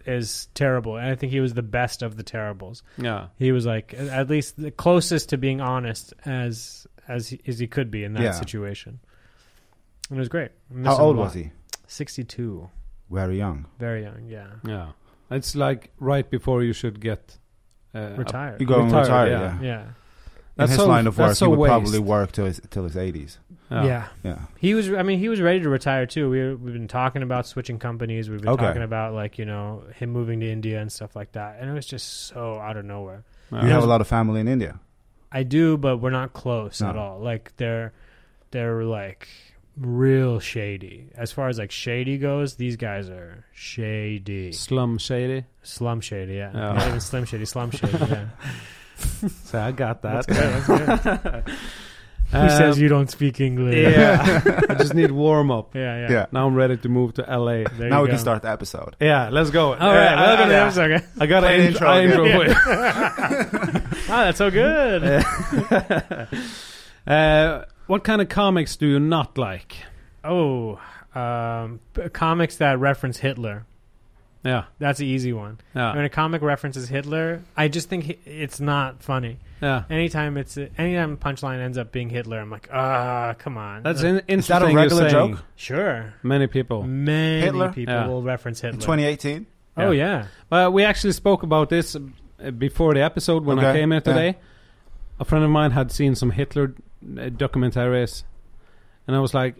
Speaker 3: is terrible, and I think he was the best of the terribles.
Speaker 2: Yeah.
Speaker 3: He was like at least the closest to being honest as as he, as he could be in that
Speaker 4: Yeah.
Speaker 3: situation. And it was great. I miss
Speaker 4: How
Speaker 3: him a
Speaker 4: old
Speaker 3: lot.
Speaker 4: was he?
Speaker 3: Sixty-two.
Speaker 4: Very young.
Speaker 3: Very young. Yeah.
Speaker 2: Yeah. It's like right before you should get uh, up-
Speaker 3: Retired.
Speaker 4: You go and
Speaker 2: Retired,
Speaker 4: retire.
Speaker 2: yeah.
Speaker 4: Yeah.
Speaker 3: Yeah.
Speaker 4: In
Speaker 2: That's
Speaker 4: his
Speaker 2: so-
Speaker 4: line of
Speaker 2: that's
Speaker 4: work,
Speaker 2: so
Speaker 4: he would
Speaker 2: waste.
Speaker 4: probably work till his till his eighties.
Speaker 3: yeah.
Speaker 4: Yeah.
Speaker 3: He was. I mean, he was ready to retire too. We we've been talking about switching companies. We've been
Speaker 4: Okay.
Speaker 3: talking about like you know him moving to India and stuff like that. And it was just so out of nowhere.
Speaker 2: Yeah.
Speaker 4: You have a lot of family in India.
Speaker 3: I do, but we're not close
Speaker 4: No.
Speaker 3: at all. Like they're they're like real shady. As far as like shady goes, these guys are shady.
Speaker 2: Slum shady.
Speaker 3: Slum shady, yeah.
Speaker 2: Yeah.
Speaker 3: Not even slim shady, slum shady, yeah.
Speaker 2: So I got
Speaker 3: That's
Speaker 2: that.
Speaker 3: good, that's good.
Speaker 2: [LAUGHS]
Speaker 3: Who
Speaker 2: Um,
Speaker 3: says you don't speak English?
Speaker 2: Yeah. I just need warm up.
Speaker 3: [LAUGHS] Yeah, yeah.
Speaker 4: Yeah.
Speaker 2: Now I'm ready to move to LA.
Speaker 3: There
Speaker 4: now
Speaker 3: you
Speaker 4: we
Speaker 3: go.
Speaker 4: can start the episode.
Speaker 2: Yeah, let's go.
Speaker 3: All right,
Speaker 2: Uh, Yeah, I-
Speaker 3: welcome
Speaker 2: I,
Speaker 3: to the episode. guys.
Speaker 2: I got
Speaker 4: Play
Speaker 2: an
Speaker 4: the
Speaker 2: intro.
Speaker 4: intro
Speaker 2: I
Speaker 4: again.
Speaker 2: intro
Speaker 3: Yeah.
Speaker 2: with-
Speaker 3: [LAUGHS] Ah, that's so good.
Speaker 2: [LAUGHS] Uh, what kind of comics do you not like?
Speaker 3: Oh, um, p- comics that reference Hitler.
Speaker 2: Yeah,
Speaker 3: That's an easy one.
Speaker 2: yeah,
Speaker 3: When a comic references Hitler, I just think hi- it's not funny.
Speaker 2: yeah.
Speaker 3: Anytime it's anytime punchline ends up being Hitler, I'm like, ah, come on.
Speaker 2: That's
Speaker 3: Uh,
Speaker 2: in, interesting.
Speaker 4: Is that a
Speaker 2: you're
Speaker 4: regular
Speaker 2: saying.
Speaker 4: joke?
Speaker 3: Sure.
Speaker 2: Many people.
Speaker 3: Many
Speaker 4: Hitler?
Speaker 3: people
Speaker 2: Yeah.
Speaker 3: will reference Hitler.
Speaker 4: In 2018,
Speaker 3: Oh yeah.
Speaker 2: Uh, we actually spoke about this uh, before the episode when I
Speaker 4: Okay,
Speaker 2: came here
Speaker 4: yeah.
Speaker 2: today. A friend of mine had seen some Hitler uh, documentaries, and I was like,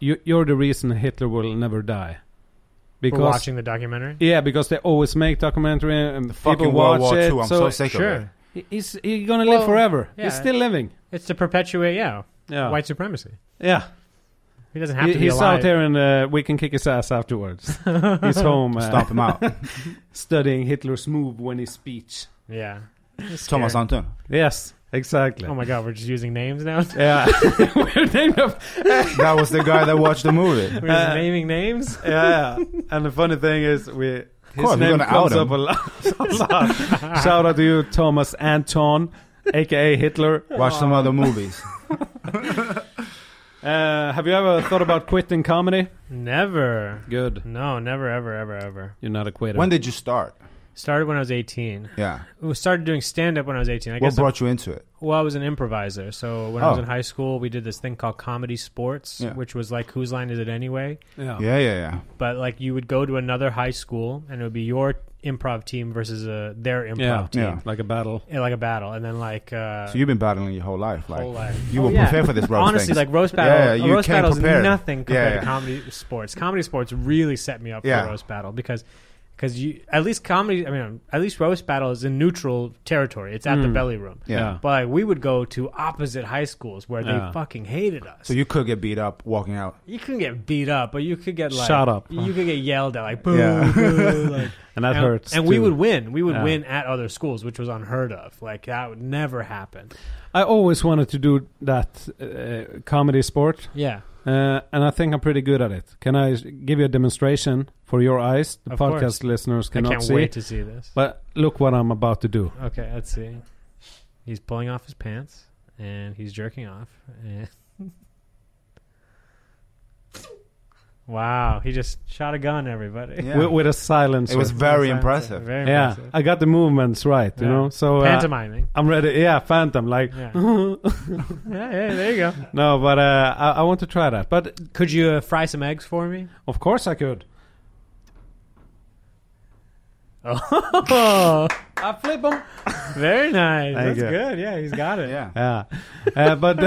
Speaker 2: you, "You're the reason Hitler will never die."
Speaker 3: We're
Speaker 2: Because
Speaker 3: watching the documentary.
Speaker 2: yeah, because they always make documentary and
Speaker 4: the
Speaker 2: people
Speaker 4: fucking
Speaker 2: watch
Speaker 4: World War
Speaker 2: it.
Speaker 4: II. I'm so,
Speaker 2: so
Speaker 4: sick
Speaker 3: sure.
Speaker 4: of it.
Speaker 2: he- he's he's gonna live
Speaker 3: Well,
Speaker 2: forever.
Speaker 3: yeah.
Speaker 2: He's still living.
Speaker 3: It's to perpetuate, yeah,
Speaker 2: Yeah,
Speaker 3: white supremacy.
Speaker 2: yeah.
Speaker 3: He doesn't have
Speaker 2: Oh. He-
Speaker 3: to be
Speaker 2: he's
Speaker 3: alive.
Speaker 2: out there, and uh, we can kick his ass
Speaker 3: [LAUGHS]
Speaker 2: afterwards. he's home uh,
Speaker 4: Stomp him out.
Speaker 2: studying Hitler's move when he speech.
Speaker 3: Yeah. It's
Speaker 4: Thomas
Speaker 3: scary.
Speaker 4: Antun.
Speaker 2: Yes, exactly.
Speaker 3: Oh my god, we're just using names
Speaker 2: [LAUGHS]
Speaker 3: now.
Speaker 2: Yeah, we're named after-
Speaker 4: That was the guy that watched the
Speaker 3: [LAUGHS]
Speaker 4: movie.
Speaker 3: We're just
Speaker 2: Uh,
Speaker 3: naming names.
Speaker 2: yeah, yeah. And the funny thing is, we his
Speaker 4: course, we're
Speaker 2: name
Speaker 4: gonna
Speaker 2: comes
Speaker 4: out
Speaker 2: up a lot. [LAUGHS] a lot. Shout out to you, Thomas Anton, aka Hitler.
Speaker 4: Watch some other
Speaker 3: [LAUGHS]
Speaker 4: movies.
Speaker 2: Uh, have you ever thought about quitting comedy?
Speaker 3: Never.
Speaker 2: Good.
Speaker 3: No, never, ever, ever, ever.
Speaker 2: You're not a quitter.
Speaker 4: When did you start?
Speaker 3: Started when I was 18.
Speaker 4: Yeah.
Speaker 3: We started doing stand up when I was 18. I
Speaker 4: What
Speaker 3: guess.
Speaker 4: brought you into it?
Speaker 3: well, I was an improviser. So when I was
Speaker 4: Oh.
Speaker 3: in high school, we did this thing called comedy sports,
Speaker 4: Yeah.
Speaker 3: which was like, whose line is it anyway?
Speaker 2: yeah.
Speaker 4: Yeah, yeah, yeah.
Speaker 3: But like, you would go to another high school, and it would be your improv team versus uh, their improv
Speaker 2: Yeah.
Speaker 3: team,
Speaker 4: Yeah.
Speaker 2: Like a battle.
Speaker 3: Yeah, like a battle, and then like uh,
Speaker 4: So you've been battling your whole life. Like
Speaker 3: whole life.
Speaker 4: you
Speaker 3: Oh,
Speaker 4: were
Speaker 3: yeah.
Speaker 4: prepared for this roast
Speaker 3: Honestly,
Speaker 4: things.
Speaker 3: like roast battle,
Speaker 4: Yeah,
Speaker 3: a
Speaker 4: you
Speaker 3: roast
Speaker 4: came
Speaker 3: battle
Speaker 4: prepared.
Speaker 3: is nothing compared
Speaker 4: Yeah,
Speaker 3: to
Speaker 4: yeah.
Speaker 3: comedy sports. Comedy sports really set me up
Speaker 4: Yeah.
Speaker 3: for roast battle because because you at least comedy. I mean, at least roast battle is in neutral territory. It's at the
Speaker 2: Mm.
Speaker 3: belly room.
Speaker 4: yeah.
Speaker 2: Yeah.
Speaker 3: But we would go to opposite high schools where
Speaker 2: Yeah.
Speaker 3: they fucking hated us.
Speaker 4: So
Speaker 3: you,
Speaker 4: you could get beat up walking out.
Speaker 3: couldn't get beat up, but you could get like
Speaker 2: Shut up.
Speaker 3: You could get yelled at
Speaker 2: [LAUGHS]
Speaker 3: like boo,
Speaker 4: Yeah.
Speaker 3: boo like,
Speaker 2: And [LAUGHS] that
Speaker 3: and,
Speaker 2: hurts.
Speaker 3: And we
Speaker 2: too.
Speaker 3: would win. We would
Speaker 2: Yeah.
Speaker 3: win at other schools, which was unheard of. Like that would never happen.
Speaker 2: I always wanted to do that uh, comedy sport,
Speaker 3: Yeah.
Speaker 2: uh, and I think I'm pretty good at it. Can I s- give you a demonstration for your eyes? The
Speaker 3: Of
Speaker 2: podcast
Speaker 3: course.
Speaker 2: listeners cannot
Speaker 3: I can't
Speaker 2: see.
Speaker 3: wait to see this.
Speaker 2: But look what I'm about to do.
Speaker 3: Okay, let's see. He's pulling off his pants and he's jerking off. And [LAUGHS] wow, he just shot a gun, everybody.
Speaker 4: Yeah.
Speaker 2: With, with a silencer.
Speaker 4: It was very impressive.
Speaker 3: Very
Speaker 2: yeah,
Speaker 3: impressive.
Speaker 2: I got the movements right, you
Speaker 3: Yeah.
Speaker 2: know. So uh,
Speaker 3: Pantomiming.
Speaker 2: I'm ready. Yeah, Phantom. Like
Speaker 3: Yeah. yeah, yeah, there you go.
Speaker 2: [LAUGHS] no, but uh, I, I want to try that. But
Speaker 3: [LAUGHS] Could you uh, fry some eggs for me?
Speaker 2: of course I could.
Speaker 3: Oh, [LAUGHS]
Speaker 2: I flip them.
Speaker 3: very nice.
Speaker 2: There you
Speaker 3: That's
Speaker 2: go.
Speaker 3: good. Yeah, he's got it.
Speaker 4: Yeah.
Speaker 2: Yeah, uh, but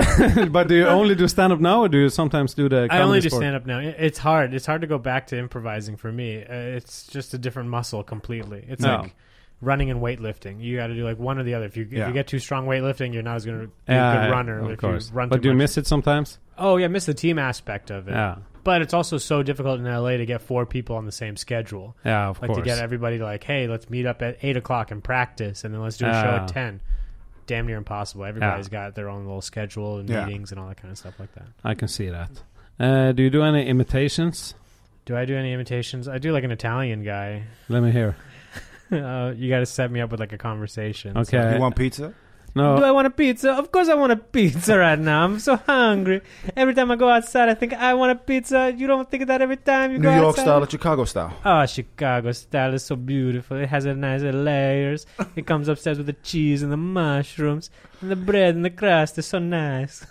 Speaker 2: [LAUGHS] but do you only do stand up now, or do you sometimes do the?
Speaker 3: I only
Speaker 2: comedy
Speaker 3: do
Speaker 2: sport?
Speaker 3: stand up now. It- It's hard. It's hard to go back to improvising for me. Uh, It's just a different muscle completely. It's
Speaker 2: No.
Speaker 3: like running and weightlifting. You got to do like one or the other. If you if
Speaker 4: Yeah.
Speaker 3: you get too strong weightlifting, you're not as going to be a
Speaker 2: Yeah,
Speaker 3: good runner.
Speaker 2: of
Speaker 3: if
Speaker 2: course.
Speaker 3: You run
Speaker 2: but
Speaker 3: too
Speaker 2: do you
Speaker 3: much.
Speaker 2: miss it sometimes?
Speaker 3: Oh yeah, miss the team aspect of it.
Speaker 2: Yeah,
Speaker 3: But it's also so difficult in LA to get four people on the same schedule.
Speaker 2: yeah, of
Speaker 3: Like
Speaker 2: course.
Speaker 3: to get everybody like, hey, let's meet up at eight o'clock and practice, and then let's do a show
Speaker 2: Ah.
Speaker 3: at ten. Damn near impossible. Everybody's got their own little schedule and
Speaker 4: Yeah.
Speaker 3: meetings and all that kind of stuff like that.
Speaker 2: I can see that. Uh, do you do any imitations?
Speaker 3: Do I do any imitations? I do like an Italian guy. [LAUGHS]
Speaker 2: Let me hear.
Speaker 3: uh, you got to set me up with like a conversation.
Speaker 2: Okay. Oh.
Speaker 4: You want pizza?
Speaker 2: No,
Speaker 3: Do I want a pizza? Of course I want a pizza right now. I'm so hungry. Every time I go outside, I think I want a pizza. You don't think that every time you
Speaker 4: New
Speaker 3: go
Speaker 4: York
Speaker 3: outside?
Speaker 4: style or Chicago style?
Speaker 3: Oh, Chicago style is so beautiful. It has a nice layers. It comes upstairs with the cheese and the mushrooms and the bread and the crust is so nice.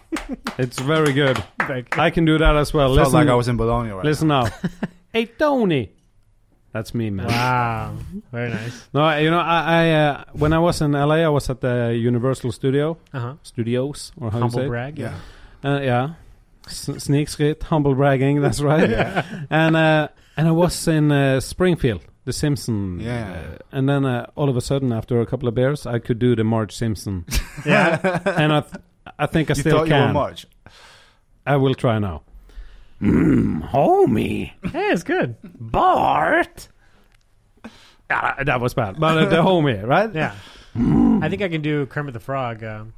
Speaker 3: [LAUGHS]
Speaker 2: it's very good.
Speaker 3: Thank you.
Speaker 2: I can do that as well.
Speaker 4: Felt
Speaker 2: Listen,
Speaker 4: like I was in Bologna right
Speaker 2: listen
Speaker 4: [LAUGHS]
Speaker 2: now. hey, Tony. That's me, man.
Speaker 3: Wow, very nice.
Speaker 2: No, I- you know, I, I uh, when I was in LA, I was at the Universal Studio
Speaker 3: Uh huh.
Speaker 2: Studios, or Uh-huh. how
Speaker 3: Humble
Speaker 2: you say?
Speaker 3: brag.
Speaker 4: now. Yeah.
Speaker 2: It? Uh, yeah, S- sneak skit, humble bragging.
Speaker 4: [LAUGHS]
Speaker 2: That's right. And uh, and I was in uh, Springfield, The Simpson.
Speaker 4: Yeah.
Speaker 2: uh, and then uh, all of a sudden, after a couple of beers, I could do the Marge
Speaker 4: [LAUGHS]
Speaker 2: Simpson,
Speaker 3: Yeah.
Speaker 2: [LAUGHS] and I, th- I think I
Speaker 4: You
Speaker 2: still
Speaker 4: thought you were
Speaker 2: can.
Speaker 4: March.
Speaker 2: I will try now. Mm, homie.
Speaker 3: hey, it's good.
Speaker 2: Bart. Ah, that was bad, but uh, the homie, right?
Speaker 3: Yeah. I think I can do Kermit the Frog. Um,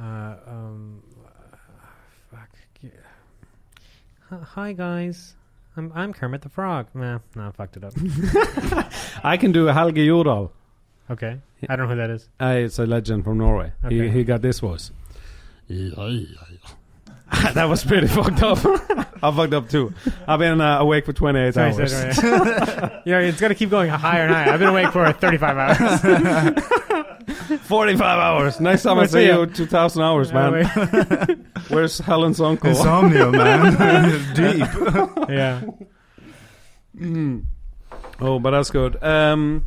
Speaker 3: uh, um, fuck. yeah. H- Hi guys, I'm I'm Kermit the Frog. Nah, nah, I fucked it up.
Speaker 2: I can do Helge Jordal.
Speaker 3: Okay, I don't know who that is.
Speaker 2: Uh, it's a legend from Norway. He,
Speaker 3: Okay.
Speaker 2: he got this voice. [LAUGHS] that was pretty fucked up. I fucked up too. I've been uh, awake for 28
Speaker 3: Sorry,
Speaker 2: hours.
Speaker 3: sorry, sorry. [LAUGHS] yeah, it's gonna keep going higher and higher. I've been awake for [LAUGHS] 35 hours.
Speaker 2: 45 hours. Next time I
Speaker 3: Where's
Speaker 2: see
Speaker 3: Leo?
Speaker 2: you, 2,000 hours, [LAUGHS]
Speaker 3: [LAUGHS]
Speaker 2: man.
Speaker 3: Yeah,
Speaker 2: Where's Helen's uncle?
Speaker 4: Insomnia, man. Deep.
Speaker 3: wait. yeah.
Speaker 2: Mm. Oh, but that's good. Um,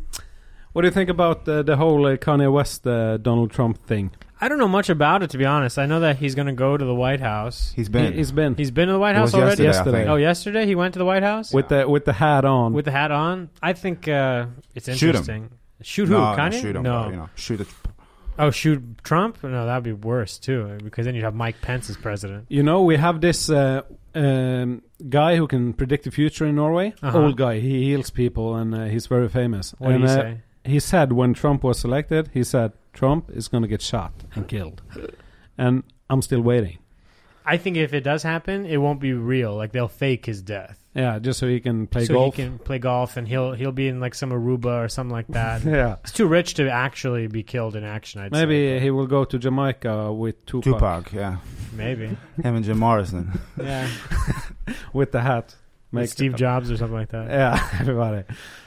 Speaker 2: what do you think about uh, the whole uh, Kanye West, uh, Donald Trump thing?
Speaker 3: I don't know much about it to be honest. I know that he's gonna go to the White House.
Speaker 4: He's been.
Speaker 2: He, has been
Speaker 3: He's been to the White
Speaker 4: It was
Speaker 3: House already.
Speaker 4: yesterday, I
Speaker 2: Yesterday.
Speaker 4: think.
Speaker 3: Oh, yesterday he went to the White House
Speaker 2: with the with the hat on.
Speaker 3: with the hat on. I think uh, it's
Speaker 4: Shoot him.
Speaker 3: interesting. Shoot, Oh, who?
Speaker 4: no,
Speaker 3: Kanye?
Speaker 4: Shoot him,
Speaker 3: no.
Speaker 4: bro, you know, shoot it.
Speaker 3: Oh, shoot Trump? No, that'd be worse too, because then you'd have Mike Pence as president.
Speaker 2: You know, we have this uh, um, guy who can predict the future in Norway.
Speaker 3: Uh-huh.
Speaker 2: Old guy. He heals people, and uh, he's very famous.
Speaker 3: What
Speaker 2: and,
Speaker 3: do you
Speaker 2: uh,
Speaker 3: say?
Speaker 2: He said when Trump was elected, he said Trump is going to get shot and killed, and I'm still waiting.
Speaker 3: I think if it does happen, it won't be real. Like they'll fake his death,
Speaker 2: Yeah, just so he can play
Speaker 3: so
Speaker 2: golf.
Speaker 3: he can play golf, and he'll he'll be in like some Aruba or something like that.
Speaker 2: [LAUGHS]
Speaker 3: [LAUGHS]
Speaker 2: yeah,
Speaker 3: He's too rich to actually be killed in action. I'd
Speaker 2: maybe
Speaker 3: say.
Speaker 2: he will go to Jamaica with Tupac,
Speaker 4: Tupac, yeah.
Speaker 3: maybe,
Speaker 4: Him and Jim Morrison.
Speaker 3: [LAUGHS] yeah,
Speaker 2: [LAUGHS] with the hat.
Speaker 3: like
Speaker 2: Make-
Speaker 3: Steve Jobs or something like that.
Speaker 2: [LAUGHS] Yeah, everybody.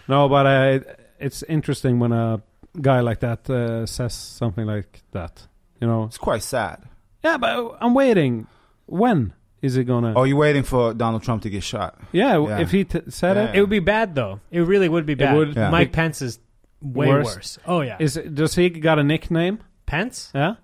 Speaker 2: No, but uh, it- it's interesting when a guy like that uh, says something like that. You know,
Speaker 4: It's quite sad.
Speaker 2: Yeah, but uh, I'm waiting. When is it gonna?
Speaker 4: Oh, you're waiting for Donald Trump to get shot.
Speaker 2: yeah, w-
Speaker 4: yeah.
Speaker 2: if he t- said
Speaker 4: Yeah.
Speaker 2: it,
Speaker 3: It would be bad though. It really would be bad.
Speaker 2: would-
Speaker 4: Yeah.
Speaker 3: Mike Pence is way
Speaker 2: Worse.
Speaker 3: worse. Oh yeah,
Speaker 2: is it- does he got a nickname?
Speaker 3: Pence? [LAUGHS]
Speaker 2: Yeah.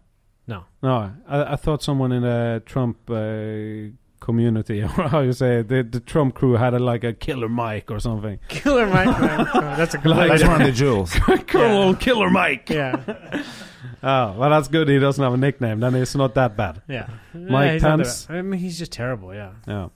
Speaker 3: No.
Speaker 2: No, I, I thought someone in the Trump uh, community, [LAUGHS] or how you say it, the, the Trump crew had a, like a killer Mike or something.
Speaker 3: Killer Mike.
Speaker 2: [LAUGHS]
Speaker 3: Pence. Oh, That's a good
Speaker 2: Like-
Speaker 4: That's
Speaker 3: idea. [LAUGHS]
Speaker 4: one of the jewels.
Speaker 2: Colonel Killer Mike.
Speaker 3: Yeah.
Speaker 2: Oh, well, that's good. He doesn't have a nickname. Then it's not that bad.
Speaker 3: Yeah.
Speaker 2: [LAUGHS] Mike
Speaker 3: he's not the-
Speaker 2: Pence.
Speaker 3: I mean, he's just terrible. Yeah.
Speaker 2: Yeah.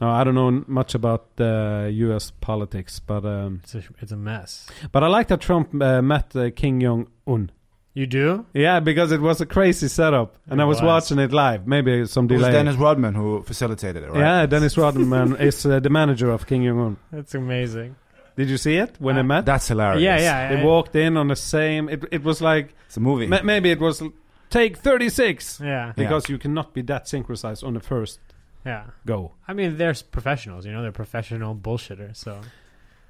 Speaker 2: No, I don't know n- much about uh, U.S. politics, but um,
Speaker 3: It's a, it's a mess.
Speaker 2: but I like that Trump uh, met uh, Kim Jong Un.
Speaker 3: You do?
Speaker 2: Yeah, because it was a crazy setup, and
Speaker 3: It
Speaker 2: I was,
Speaker 3: was.
Speaker 2: watching it live. Maybe some
Speaker 4: It was
Speaker 2: delay.
Speaker 4: Dennis Rodman who facilitated it, right?
Speaker 2: Yeah, Dennis Rodman [LAUGHS] is uh, the manager of King Jong Un.
Speaker 3: That's amazing.
Speaker 2: Did you see it when they
Speaker 3: Uh,
Speaker 2: met?
Speaker 4: That's hilarious.
Speaker 3: Yeah, yeah.
Speaker 2: they
Speaker 3: I-
Speaker 2: walked in on the same. It it was like
Speaker 4: It's a movie.
Speaker 2: ma- maybe it was l- take thirty six
Speaker 3: Yeah.
Speaker 4: Yeah.
Speaker 2: because you cannot be that synchronized on the first
Speaker 3: Yeah.
Speaker 2: go.
Speaker 3: I mean, they're s- professionals. You know, they're professional bullshitters. So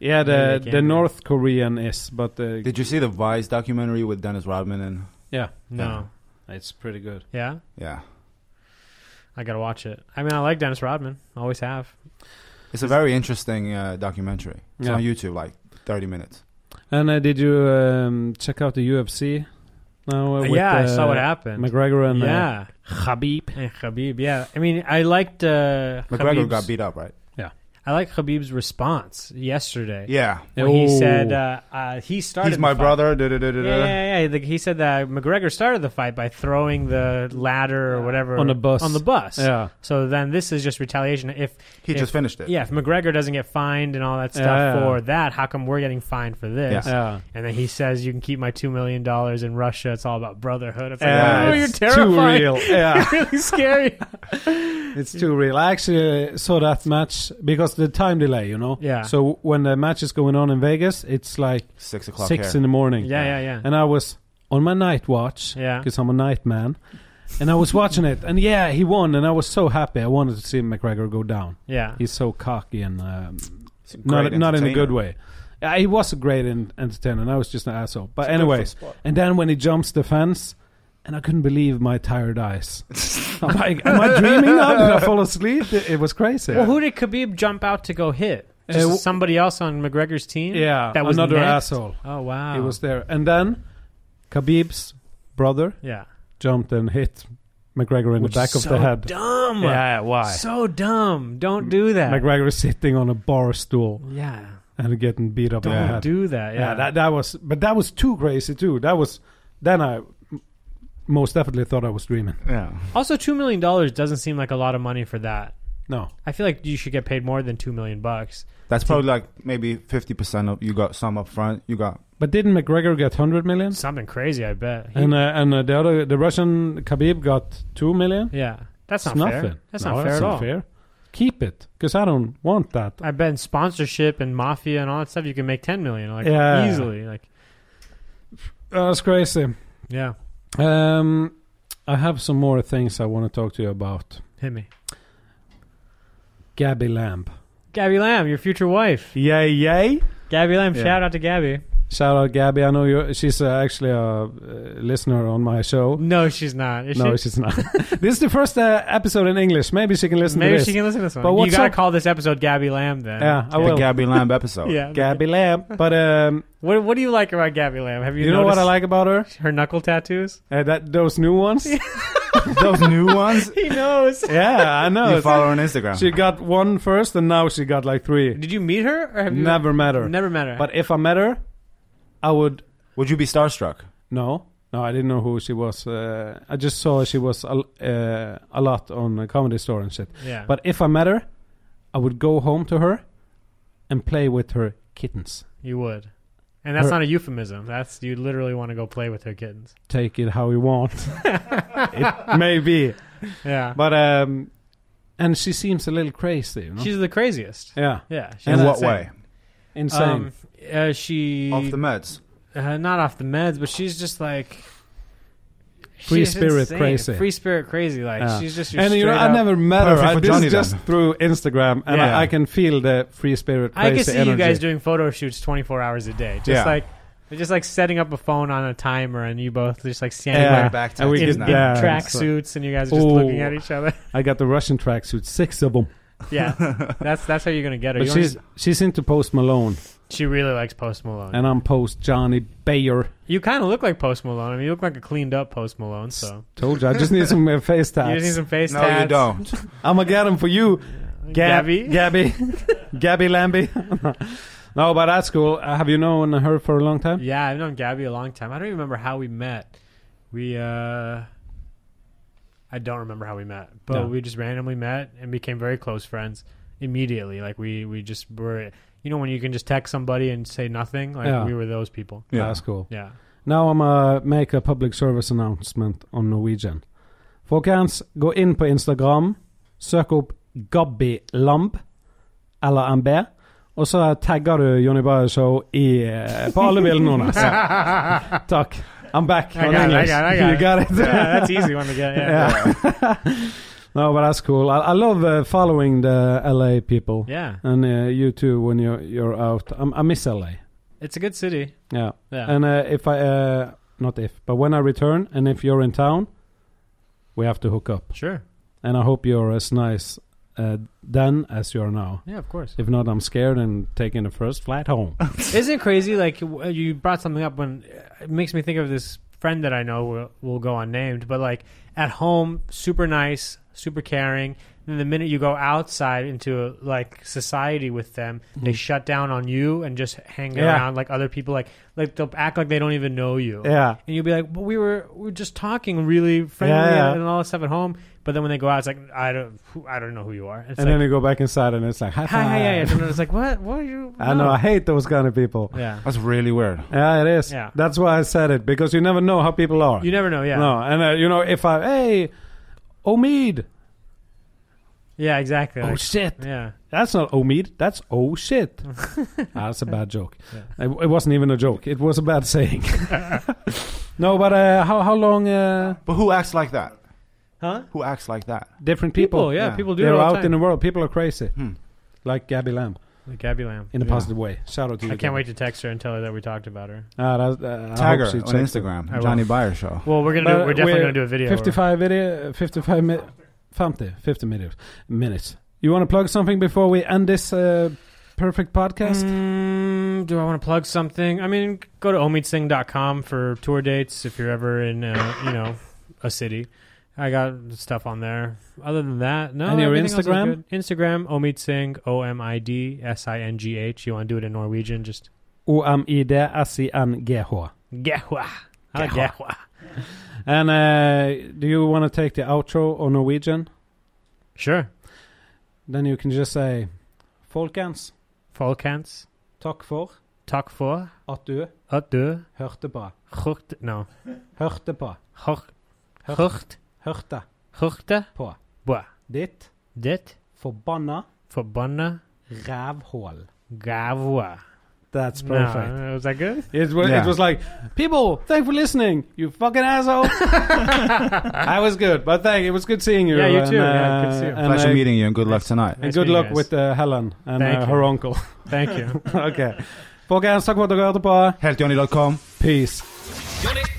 Speaker 2: Yeah,
Speaker 3: Maybe
Speaker 2: the
Speaker 3: they can
Speaker 2: the
Speaker 3: be.
Speaker 2: North Korean is, but uh,
Speaker 4: Did you see the Vice documentary with Dennis Rodman and
Speaker 2: yeah,
Speaker 3: no.
Speaker 2: it's pretty good.
Speaker 3: Yeah.
Speaker 4: yeah?
Speaker 3: I gotta watch it. I mean, I like Dennis Rodman. Always have.
Speaker 4: It's a very interesting uh, documentary. It's
Speaker 2: Yeah.
Speaker 4: on YouTube, like 30 minutes.
Speaker 2: And uh, did you um, check out the UFC? Now, uh, with,
Speaker 3: yeah, I saw
Speaker 2: uh,
Speaker 3: what happened.
Speaker 2: McGregor and uh,
Speaker 3: yeah,
Speaker 2: Khabib.
Speaker 3: and Khabib. Yeah, I mean, I liked uh,
Speaker 4: McGregor
Speaker 3: Khabib's-
Speaker 4: got beat up, right?
Speaker 3: I like Khabib's response yesterday.
Speaker 4: Yeah.
Speaker 3: when he
Speaker 2: Oh.
Speaker 3: said uh, uh, he started.
Speaker 4: He's
Speaker 3: the
Speaker 4: my
Speaker 3: fight.
Speaker 4: brother. da- da- da- da-
Speaker 3: Yeah,
Speaker 4: da.
Speaker 3: yeah, yeah. Like, he said that McGregor started the fight by throwing the ladder or whatever
Speaker 2: On the bus.
Speaker 3: On the bus.
Speaker 2: Yeah.
Speaker 3: So then this is just retaliation. If
Speaker 4: He
Speaker 3: if-
Speaker 4: just finished it.
Speaker 3: yeah, if McGregor doesn't get fined and all that stuff
Speaker 2: Yeah.
Speaker 3: for that, how come we're getting fined for this?
Speaker 4: Yeah.
Speaker 2: Yeah.
Speaker 3: And then he says, "You can keep my two million dollars in Russia. It's all about brotherhood." It's like,
Speaker 2: Yeah,
Speaker 3: oh, you're
Speaker 2: it's
Speaker 3: terrifying. [LAUGHS]
Speaker 2: Too real. Yeah, [LAUGHS]
Speaker 3: really scary.
Speaker 2: it's too real. I actually uh, saw that match because the time delay, you know.
Speaker 3: Yeah.
Speaker 2: So when the match is going on in Vegas, it's like
Speaker 4: Six o'clock
Speaker 2: six
Speaker 4: here.
Speaker 2: in the morning.
Speaker 3: Yeah, yeah, yeah.
Speaker 2: And I was on my night watch
Speaker 3: Yeah.
Speaker 2: because I'm a night man, and I was watching it, and yeah, he won, and I was so happy. I wanted to see McGregor go down.
Speaker 3: Yeah.
Speaker 2: He's so cocky and um,
Speaker 4: He's a
Speaker 2: not
Speaker 4: great
Speaker 2: not in a good
Speaker 4: entertainer.
Speaker 2: way. Uh, he was a great en- entertainer, and I was just an asshole. But
Speaker 4: He's good for
Speaker 2: anyways,
Speaker 4: sport.
Speaker 2: and then when he jumps the fence, and I couldn't believe my tired
Speaker 4: [LAUGHS]
Speaker 2: eyes. I'm like, am I dreaming now? Did I fall asleep? It, it was crazy.
Speaker 3: Well, who did Khabib jump out to go hit?
Speaker 2: Uh,
Speaker 3: Just
Speaker 2: w-
Speaker 3: somebody else on McGregor's team?
Speaker 2: yeah,
Speaker 3: That was
Speaker 2: another
Speaker 3: next?
Speaker 2: asshole.
Speaker 3: Oh, wow.
Speaker 2: He was there, and then Khabib's brother
Speaker 3: Yeah.
Speaker 2: jumped and hit McGregor in
Speaker 3: Which
Speaker 2: the back
Speaker 3: is
Speaker 2: of the
Speaker 3: so
Speaker 2: head.
Speaker 3: dumb.
Speaker 2: Yeah, why?
Speaker 3: So dumb. Don't do that.
Speaker 2: McGregor is sitting on a bar stool
Speaker 3: yeah.
Speaker 2: and getting beat up. in
Speaker 3: Don't
Speaker 2: the head.
Speaker 3: do that.
Speaker 2: yeah.
Speaker 3: Yeah.
Speaker 2: that that was, but that was too crazy too. That was then I m- most definitely thought I was dreaming.
Speaker 4: Yeah.
Speaker 3: also, $2 million doesn't seem like a lot of money for that.
Speaker 2: No,
Speaker 3: I feel like you should get paid more than 2 million bucks.
Speaker 4: That's probably like maybe 50% of you got some up front, you got
Speaker 2: but didn't McGregor get hundred million?
Speaker 3: Something crazy, I bet. He-
Speaker 2: And uh, and uh, the other the Russian Khabib got two million.
Speaker 3: yeah. That's
Speaker 2: It's
Speaker 3: not
Speaker 2: nothing.
Speaker 3: fair. That's
Speaker 2: No,
Speaker 3: not fair at all.
Speaker 2: fair. Keep it because I don't want that.
Speaker 3: I bet in sponsorship and mafia and all that stuff, you can make 10 million like
Speaker 2: Yeah.
Speaker 3: easily. Like,
Speaker 2: That's crazy.
Speaker 3: yeah.
Speaker 2: Um, I have some more things I want to talk to you about.
Speaker 3: Hit me.
Speaker 2: Gabby Lamb.
Speaker 3: Gabby Lamb, your future wife.
Speaker 2: Yay, yay!
Speaker 3: Gabby Lamb,
Speaker 4: Yeah.
Speaker 3: shout out to Gabby.
Speaker 2: Shout out Gabby. I know you're, she's uh, actually a uh, listener on my show.
Speaker 3: No, she's not. Is
Speaker 2: no,
Speaker 3: she?
Speaker 2: she's not. [LAUGHS] this is the first uh, episode in English. Maybe she can listen
Speaker 3: Maybe
Speaker 2: to this.
Speaker 3: she can listen to this one.
Speaker 2: But
Speaker 3: you
Speaker 2: what's
Speaker 3: gotta
Speaker 2: up-
Speaker 3: call this episode Gabby Lamb then.
Speaker 2: yeah, I
Speaker 4: the
Speaker 2: will.
Speaker 4: Gabby
Speaker 2: [LAUGHS]
Speaker 4: Lamb episode.
Speaker 3: Yeah.
Speaker 2: Gabby Lamb. But um,
Speaker 3: What What do you like about Gabby Lamb? Have [LAUGHS] you,
Speaker 2: you, know what I
Speaker 3: noticed
Speaker 2: like about her?
Speaker 3: Her knuckle
Speaker 2: [LAUGHS]
Speaker 3: tattoos.
Speaker 2: Uh, that those new
Speaker 3: [LAUGHS]
Speaker 2: ones. [LAUGHS]
Speaker 4: Those new ones
Speaker 3: He knows.
Speaker 2: yeah, I know.
Speaker 4: you follow on Instagram.
Speaker 2: She got one first, and now she got like three.
Speaker 3: Did you meet her or have you
Speaker 2: Never met her.
Speaker 3: Never met her.
Speaker 2: But if I met her, I would
Speaker 4: Would you be starstruck?
Speaker 2: No, no, I didn't know who she was. Uh, I just saw she was a, l- uh, a lot on a comedy store and shit.
Speaker 3: yeah.
Speaker 2: But if I met her, I would go home to her and play with her kittens.
Speaker 3: you would, and that's
Speaker 2: Her-
Speaker 3: not a euphemism. That's you literally want to go play with her kittens.
Speaker 2: Take it how you want. [LAUGHS] it may be,
Speaker 3: Yeah.
Speaker 2: but um, and she seems a little crazy. You know?
Speaker 3: she's the craziest.
Speaker 2: yeah,
Speaker 3: Yeah. She's
Speaker 4: In what
Speaker 3: insane.
Speaker 4: way?
Speaker 2: insane.
Speaker 3: Um, uh, she
Speaker 4: Off the meds.
Speaker 3: uh, not off the meds, but she's just like
Speaker 2: Free
Speaker 3: she's
Speaker 2: spirit
Speaker 3: insane.
Speaker 2: crazy.
Speaker 3: Free spirit crazy. Like
Speaker 2: Yeah.
Speaker 3: she's just your
Speaker 2: and you know,
Speaker 3: straight
Speaker 2: I
Speaker 3: up-
Speaker 2: never met her.
Speaker 4: Perfect
Speaker 2: I,
Speaker 4: for
Speaker 2: this
Speaker 4: Johnny
Speaker 2: is just
Speaker 4: then.
Speaker 2: through Instagram, and
Speaker 4: Yeah.
Speaker 2: I, I can feel the free spirit. Crazy
Speaker 3: I can see
Speaker 2: energy.
Speaker 3: you guys doing photo shoots 24 hours a day. Just
Speaker 4: Yeah.
Speaker 3: like just like setting up a phone on a timer and you both just like standing
Speaker 2: Yeah.
Speaker 3: yeah.
Speaker 4: Right back to
Speaker 2: And we
Speaker 4: it.
Speaker 3: in,
Speaker 2: get
Speaker 3: in
Speaker 2: that. Yeah,
Speaker 3: track
Speaker 2: so-
Speaker 3: suits and you guys are just
Speaker 2: Ooh.
Speaker 3: looking at each other. [LAUGHS]
Speaker 2: I got the Russian tracksuit, six of them.
Speaker 4: [LAUGHS]
Speaker 3: yeah. That's that's how you're going to get her.
Speaker 2: But
Speaker 3: You wanna-
Speaker 2: she's she's into Post Malone,
Speaker 3: she really likes Post Malone.
Speaker 2: and I'm Post Johnny Bayer.
Speaker 3: you kind of look like Post Malone. I mean, you look like a cleaned up Post Malone, so.
Speaker 2: Told you, I just need some
Speaker 3: [LAUGHS]
Speaker 2: uh, face
Speaker 3: You just need
Speaker 2: tats.
Speaker 3: some face
Speaker 4: No,
Speaker 3: tats.
Speaker 2: [LAUGHS]
Speaker 4: you don't.
Speaker 2: I'm gonna get them for you, Gab-
Speaker 3: Gabby?
Speaker 2: Gabby, [LAUGHS] Gabby Lambie. [LAUGHS] no, but that's cool. Uh, have you known her for a long time?
Speaker 3: Yeah, I've known Gabby a long time. I don't even remember how we met. We uh I don't remember how we met, but
Speaker 2: No.
Speaker 3: we just randomly met and became very close friends immediately. Like we we just were you know when you can just text somebody and say nothing, like
Speaker 2: Yeah.
Speaker 3: we were those people.
Speaker 4: Yeah.
Speaker 2: that's cool. [LAUGHS]
Speaker 3: Yeah.
Speaker 2: Now I'm gonna make a public service announcement on Norwegian. Folkens, gå in på Instagram, sök upp Gabby Lamb eller MB, och så taggar du Johnny Bayer Show i, eh, på alla bilderna.
Speaker 3: [LAUGHS]
Speaker 2: alltså.
Speaker 3: yeah,
Speaker 2: Talk. I'm back.
Speaker 3: I
Speaker 2: on
Speaker 3: got it, I
Speaker 2: English.
Speaker 3: got it, I got
Speaker 2: you
Speaker 3: it.
Speaker 2: got it.
Speaker 3: that's an easy one to get. Yeah.
Speaker 2: [LAUGHS]
Speaker 3: Yeah.
Speaker 2: no, but that's cool. I, I love uh, following the LA people and uh, you too when you're you're out. i I miss LA.
Speaker 3: It's a good city.
Speaker 2: Yeah,
Speaker 3: Yeah.
Speaker 2: and uh, if I uh, not if, but when I return, and if you're in town, we have to hook up.
Speaker 3: sure.
Speaker 2: And I hope you're as nice uh, then as you are now.
Speaker 3: Yeah, of course.
Speaker 2: If not, I'm scared and taking the first flight
Speaker 3: [LAUGHS]
Speaker 2: home.
Speaker 3: Isn't it crazy? Like w- uh, you brought something up when uh, it makes me think of this friend that I know will, will go unnamed, but like at home, super nice, super caring. Then the minute you go outside into like society with them, they shut down on you and just hang
Speaker 2: Mm-hmm. Yeah.
Speaker 3: around like other people. Like like they'll act like they don't even know you.
Speaker 2: yeah,
Speaker 3: And you'll be like, "Well, we were we were just talking really friendly
Speaker 2: Yeah.
Speaker 3: and all that stuff at home." But then when they go out, it's like, "I don't, who- I don't know who you are."
Speaker 2: and
Speaker 3: It's like,
Speaker 2: then you go back inside, and it's like, hi,
Speaker 3: hi, hi,
Speaker 2: [LAUGHS]
Speaker 3: hi,
Speaker 2: hi.
Speaker 3: hi. And it's like, "What? What are you?"
Speaker 2: I know. I hate those kind of people.
Speaker 3: Yeah.
Speaker 4: That's really weird.
Speaker 2: Yeah, it is.
Speaker 3: Yeah.
Speaker 2: That's why I said it because you never know how people are.
Speaker 3: You never know. Yeah.
Speaker 2: No, and uh, you know if I hey, Omid,
Speaker 3: Yeah, exactly.
Speaker 2: oh
Speaker 3: Like,
Speaker 2: shit,
Speaker 3: yeah.
Speaker 2: that's not Omid, that's oh shit.
Speaker 3: [LAUGHS]
Speaker 2: Ah, that's a bad joke.
Speaker 3: Yeah.
Speaker 2: It, it wasn't even a joke. It was a bad saying. [LAUGHS] No, but uh, how how long? Uh,
Speaker 4: But who acts like that?
Speaker 3: Huh?
Speaker 4: Who acts like that?
Speaker 2: different people.
Speaker 3: People, yeah,
Speaker 4: yeah.
Speaker 3: people do it
Speaker 2: They're
Speaker 3: all
Speaker 2: out
Speaker 3: the time.
Speaker 2: in the world. People are crazy,
Speaker 4: Hmm.
Speaker 2: like Gabby Lamb
Speaker 3: Like Gabby Lamb.
Speaker 2: in a
Speaker 4: Yeah.
Speaker 2: positive way. Shout out to you.
Speaker 3: I can't wait to text her and tell her that we talked about her.
Speaker 2: Ah, that, uh, I
Speaker 4: Tag her
Speaker 2: hope she
Speaker 4: on
Speaker 2: checks it.
Speaker 3: I will.
Speaker 4: Instagram. Johnny Byer Show.
Speaker 3: Well, we're gonna do,
Speaker 2: But
Speaker 3: we're definitely
Speaker 2: we're
Speaker 3: gonna do a video.
Speaker 2: 55 video, 55 mi- 50, 50 minutes. minutes. You want to plug something before we end this uh, perfect podcast?
Speaker 3: Mm, do I want to plug something? I mean, go to omitsing.com for tour dates if you're ever in, uh, you know, a city. I got stuff on there. Other than that, no.
Speaker 2: And your
Speaker 3: everything else is
Speaker 2: Instagram?
Speaker 3: good. Instagram, Omid Singh, O M I D S I N G H. You want to do it in Norwegian? Just
Speaker 2: O-M-I-D-S-I-N-G-H.
Speaker 3: gehwa. I like
Speaker 2: Gehwa.
Speaker 3: gehwa.
Speaker 2: And uh, do you want to take the outro on Norwegian?
Speaker 3: Sure.
Speaker 2: Then you can just say Folkens,
Speaker 3: Folkens,
Speaker 2: takk for
Speaker 3: takk for
Speaker 2: at du
Speaker 3: at du
Speaker 2: hørte på.
Speaker 3: hørte No.
Speaker 2: Hørte på.
Speaker 3: Hør-
Speaker 2: Hørt.
Speaker 3: Hørt.
Speaker 2: Hørte
Speaker 3: Hørte
Speaker 2: på.
Speaker 3: på
Speaker 2: Ditt
Speaker 3: ditt
Speaker 2: forbanna
Speaker 3: forbanna
Speaker 2: rævhål.
Speaker 3: gavwa.
Speaker 2: That's
Speaker 3: No,
Speaker 2: perfect.
Speaker 3: was that good?
Speaker 2: It was,
Speaker 4: Yeah.
Speaker 2: it was like, people, thanks for listening, you fucking asshole. I was good, but thank. It was good seeing you.
Speaker 3: Yeah, you
Speaker 2: and,
Speaker 3: too. Yeah, good to see you.
Speaker 2: and,
Speaker 4: Pleasure
Speaker 2: uh,
Speaker 4: meeting you and good luck tonight.
Speaker 2: And
Speaker 3: Nice
Speaker 2: good
Speaker 3: meeting you
Speaker 2: luck
Speaker 3: guys.
Speaker 2: with uh, Helen and
Speaker 3: Thank
Speaker 2: uh,
Speaker 3: you.
Speaker 2: her uncle. [LAUGHS]
Speaker 3: Thank you.
Speaker 2: okay. Folkens, takk for at dere hørte på.
Speaker 4: Heltjohnny.com.
Speaker 2: Peace.
Speaker 6: Johnny.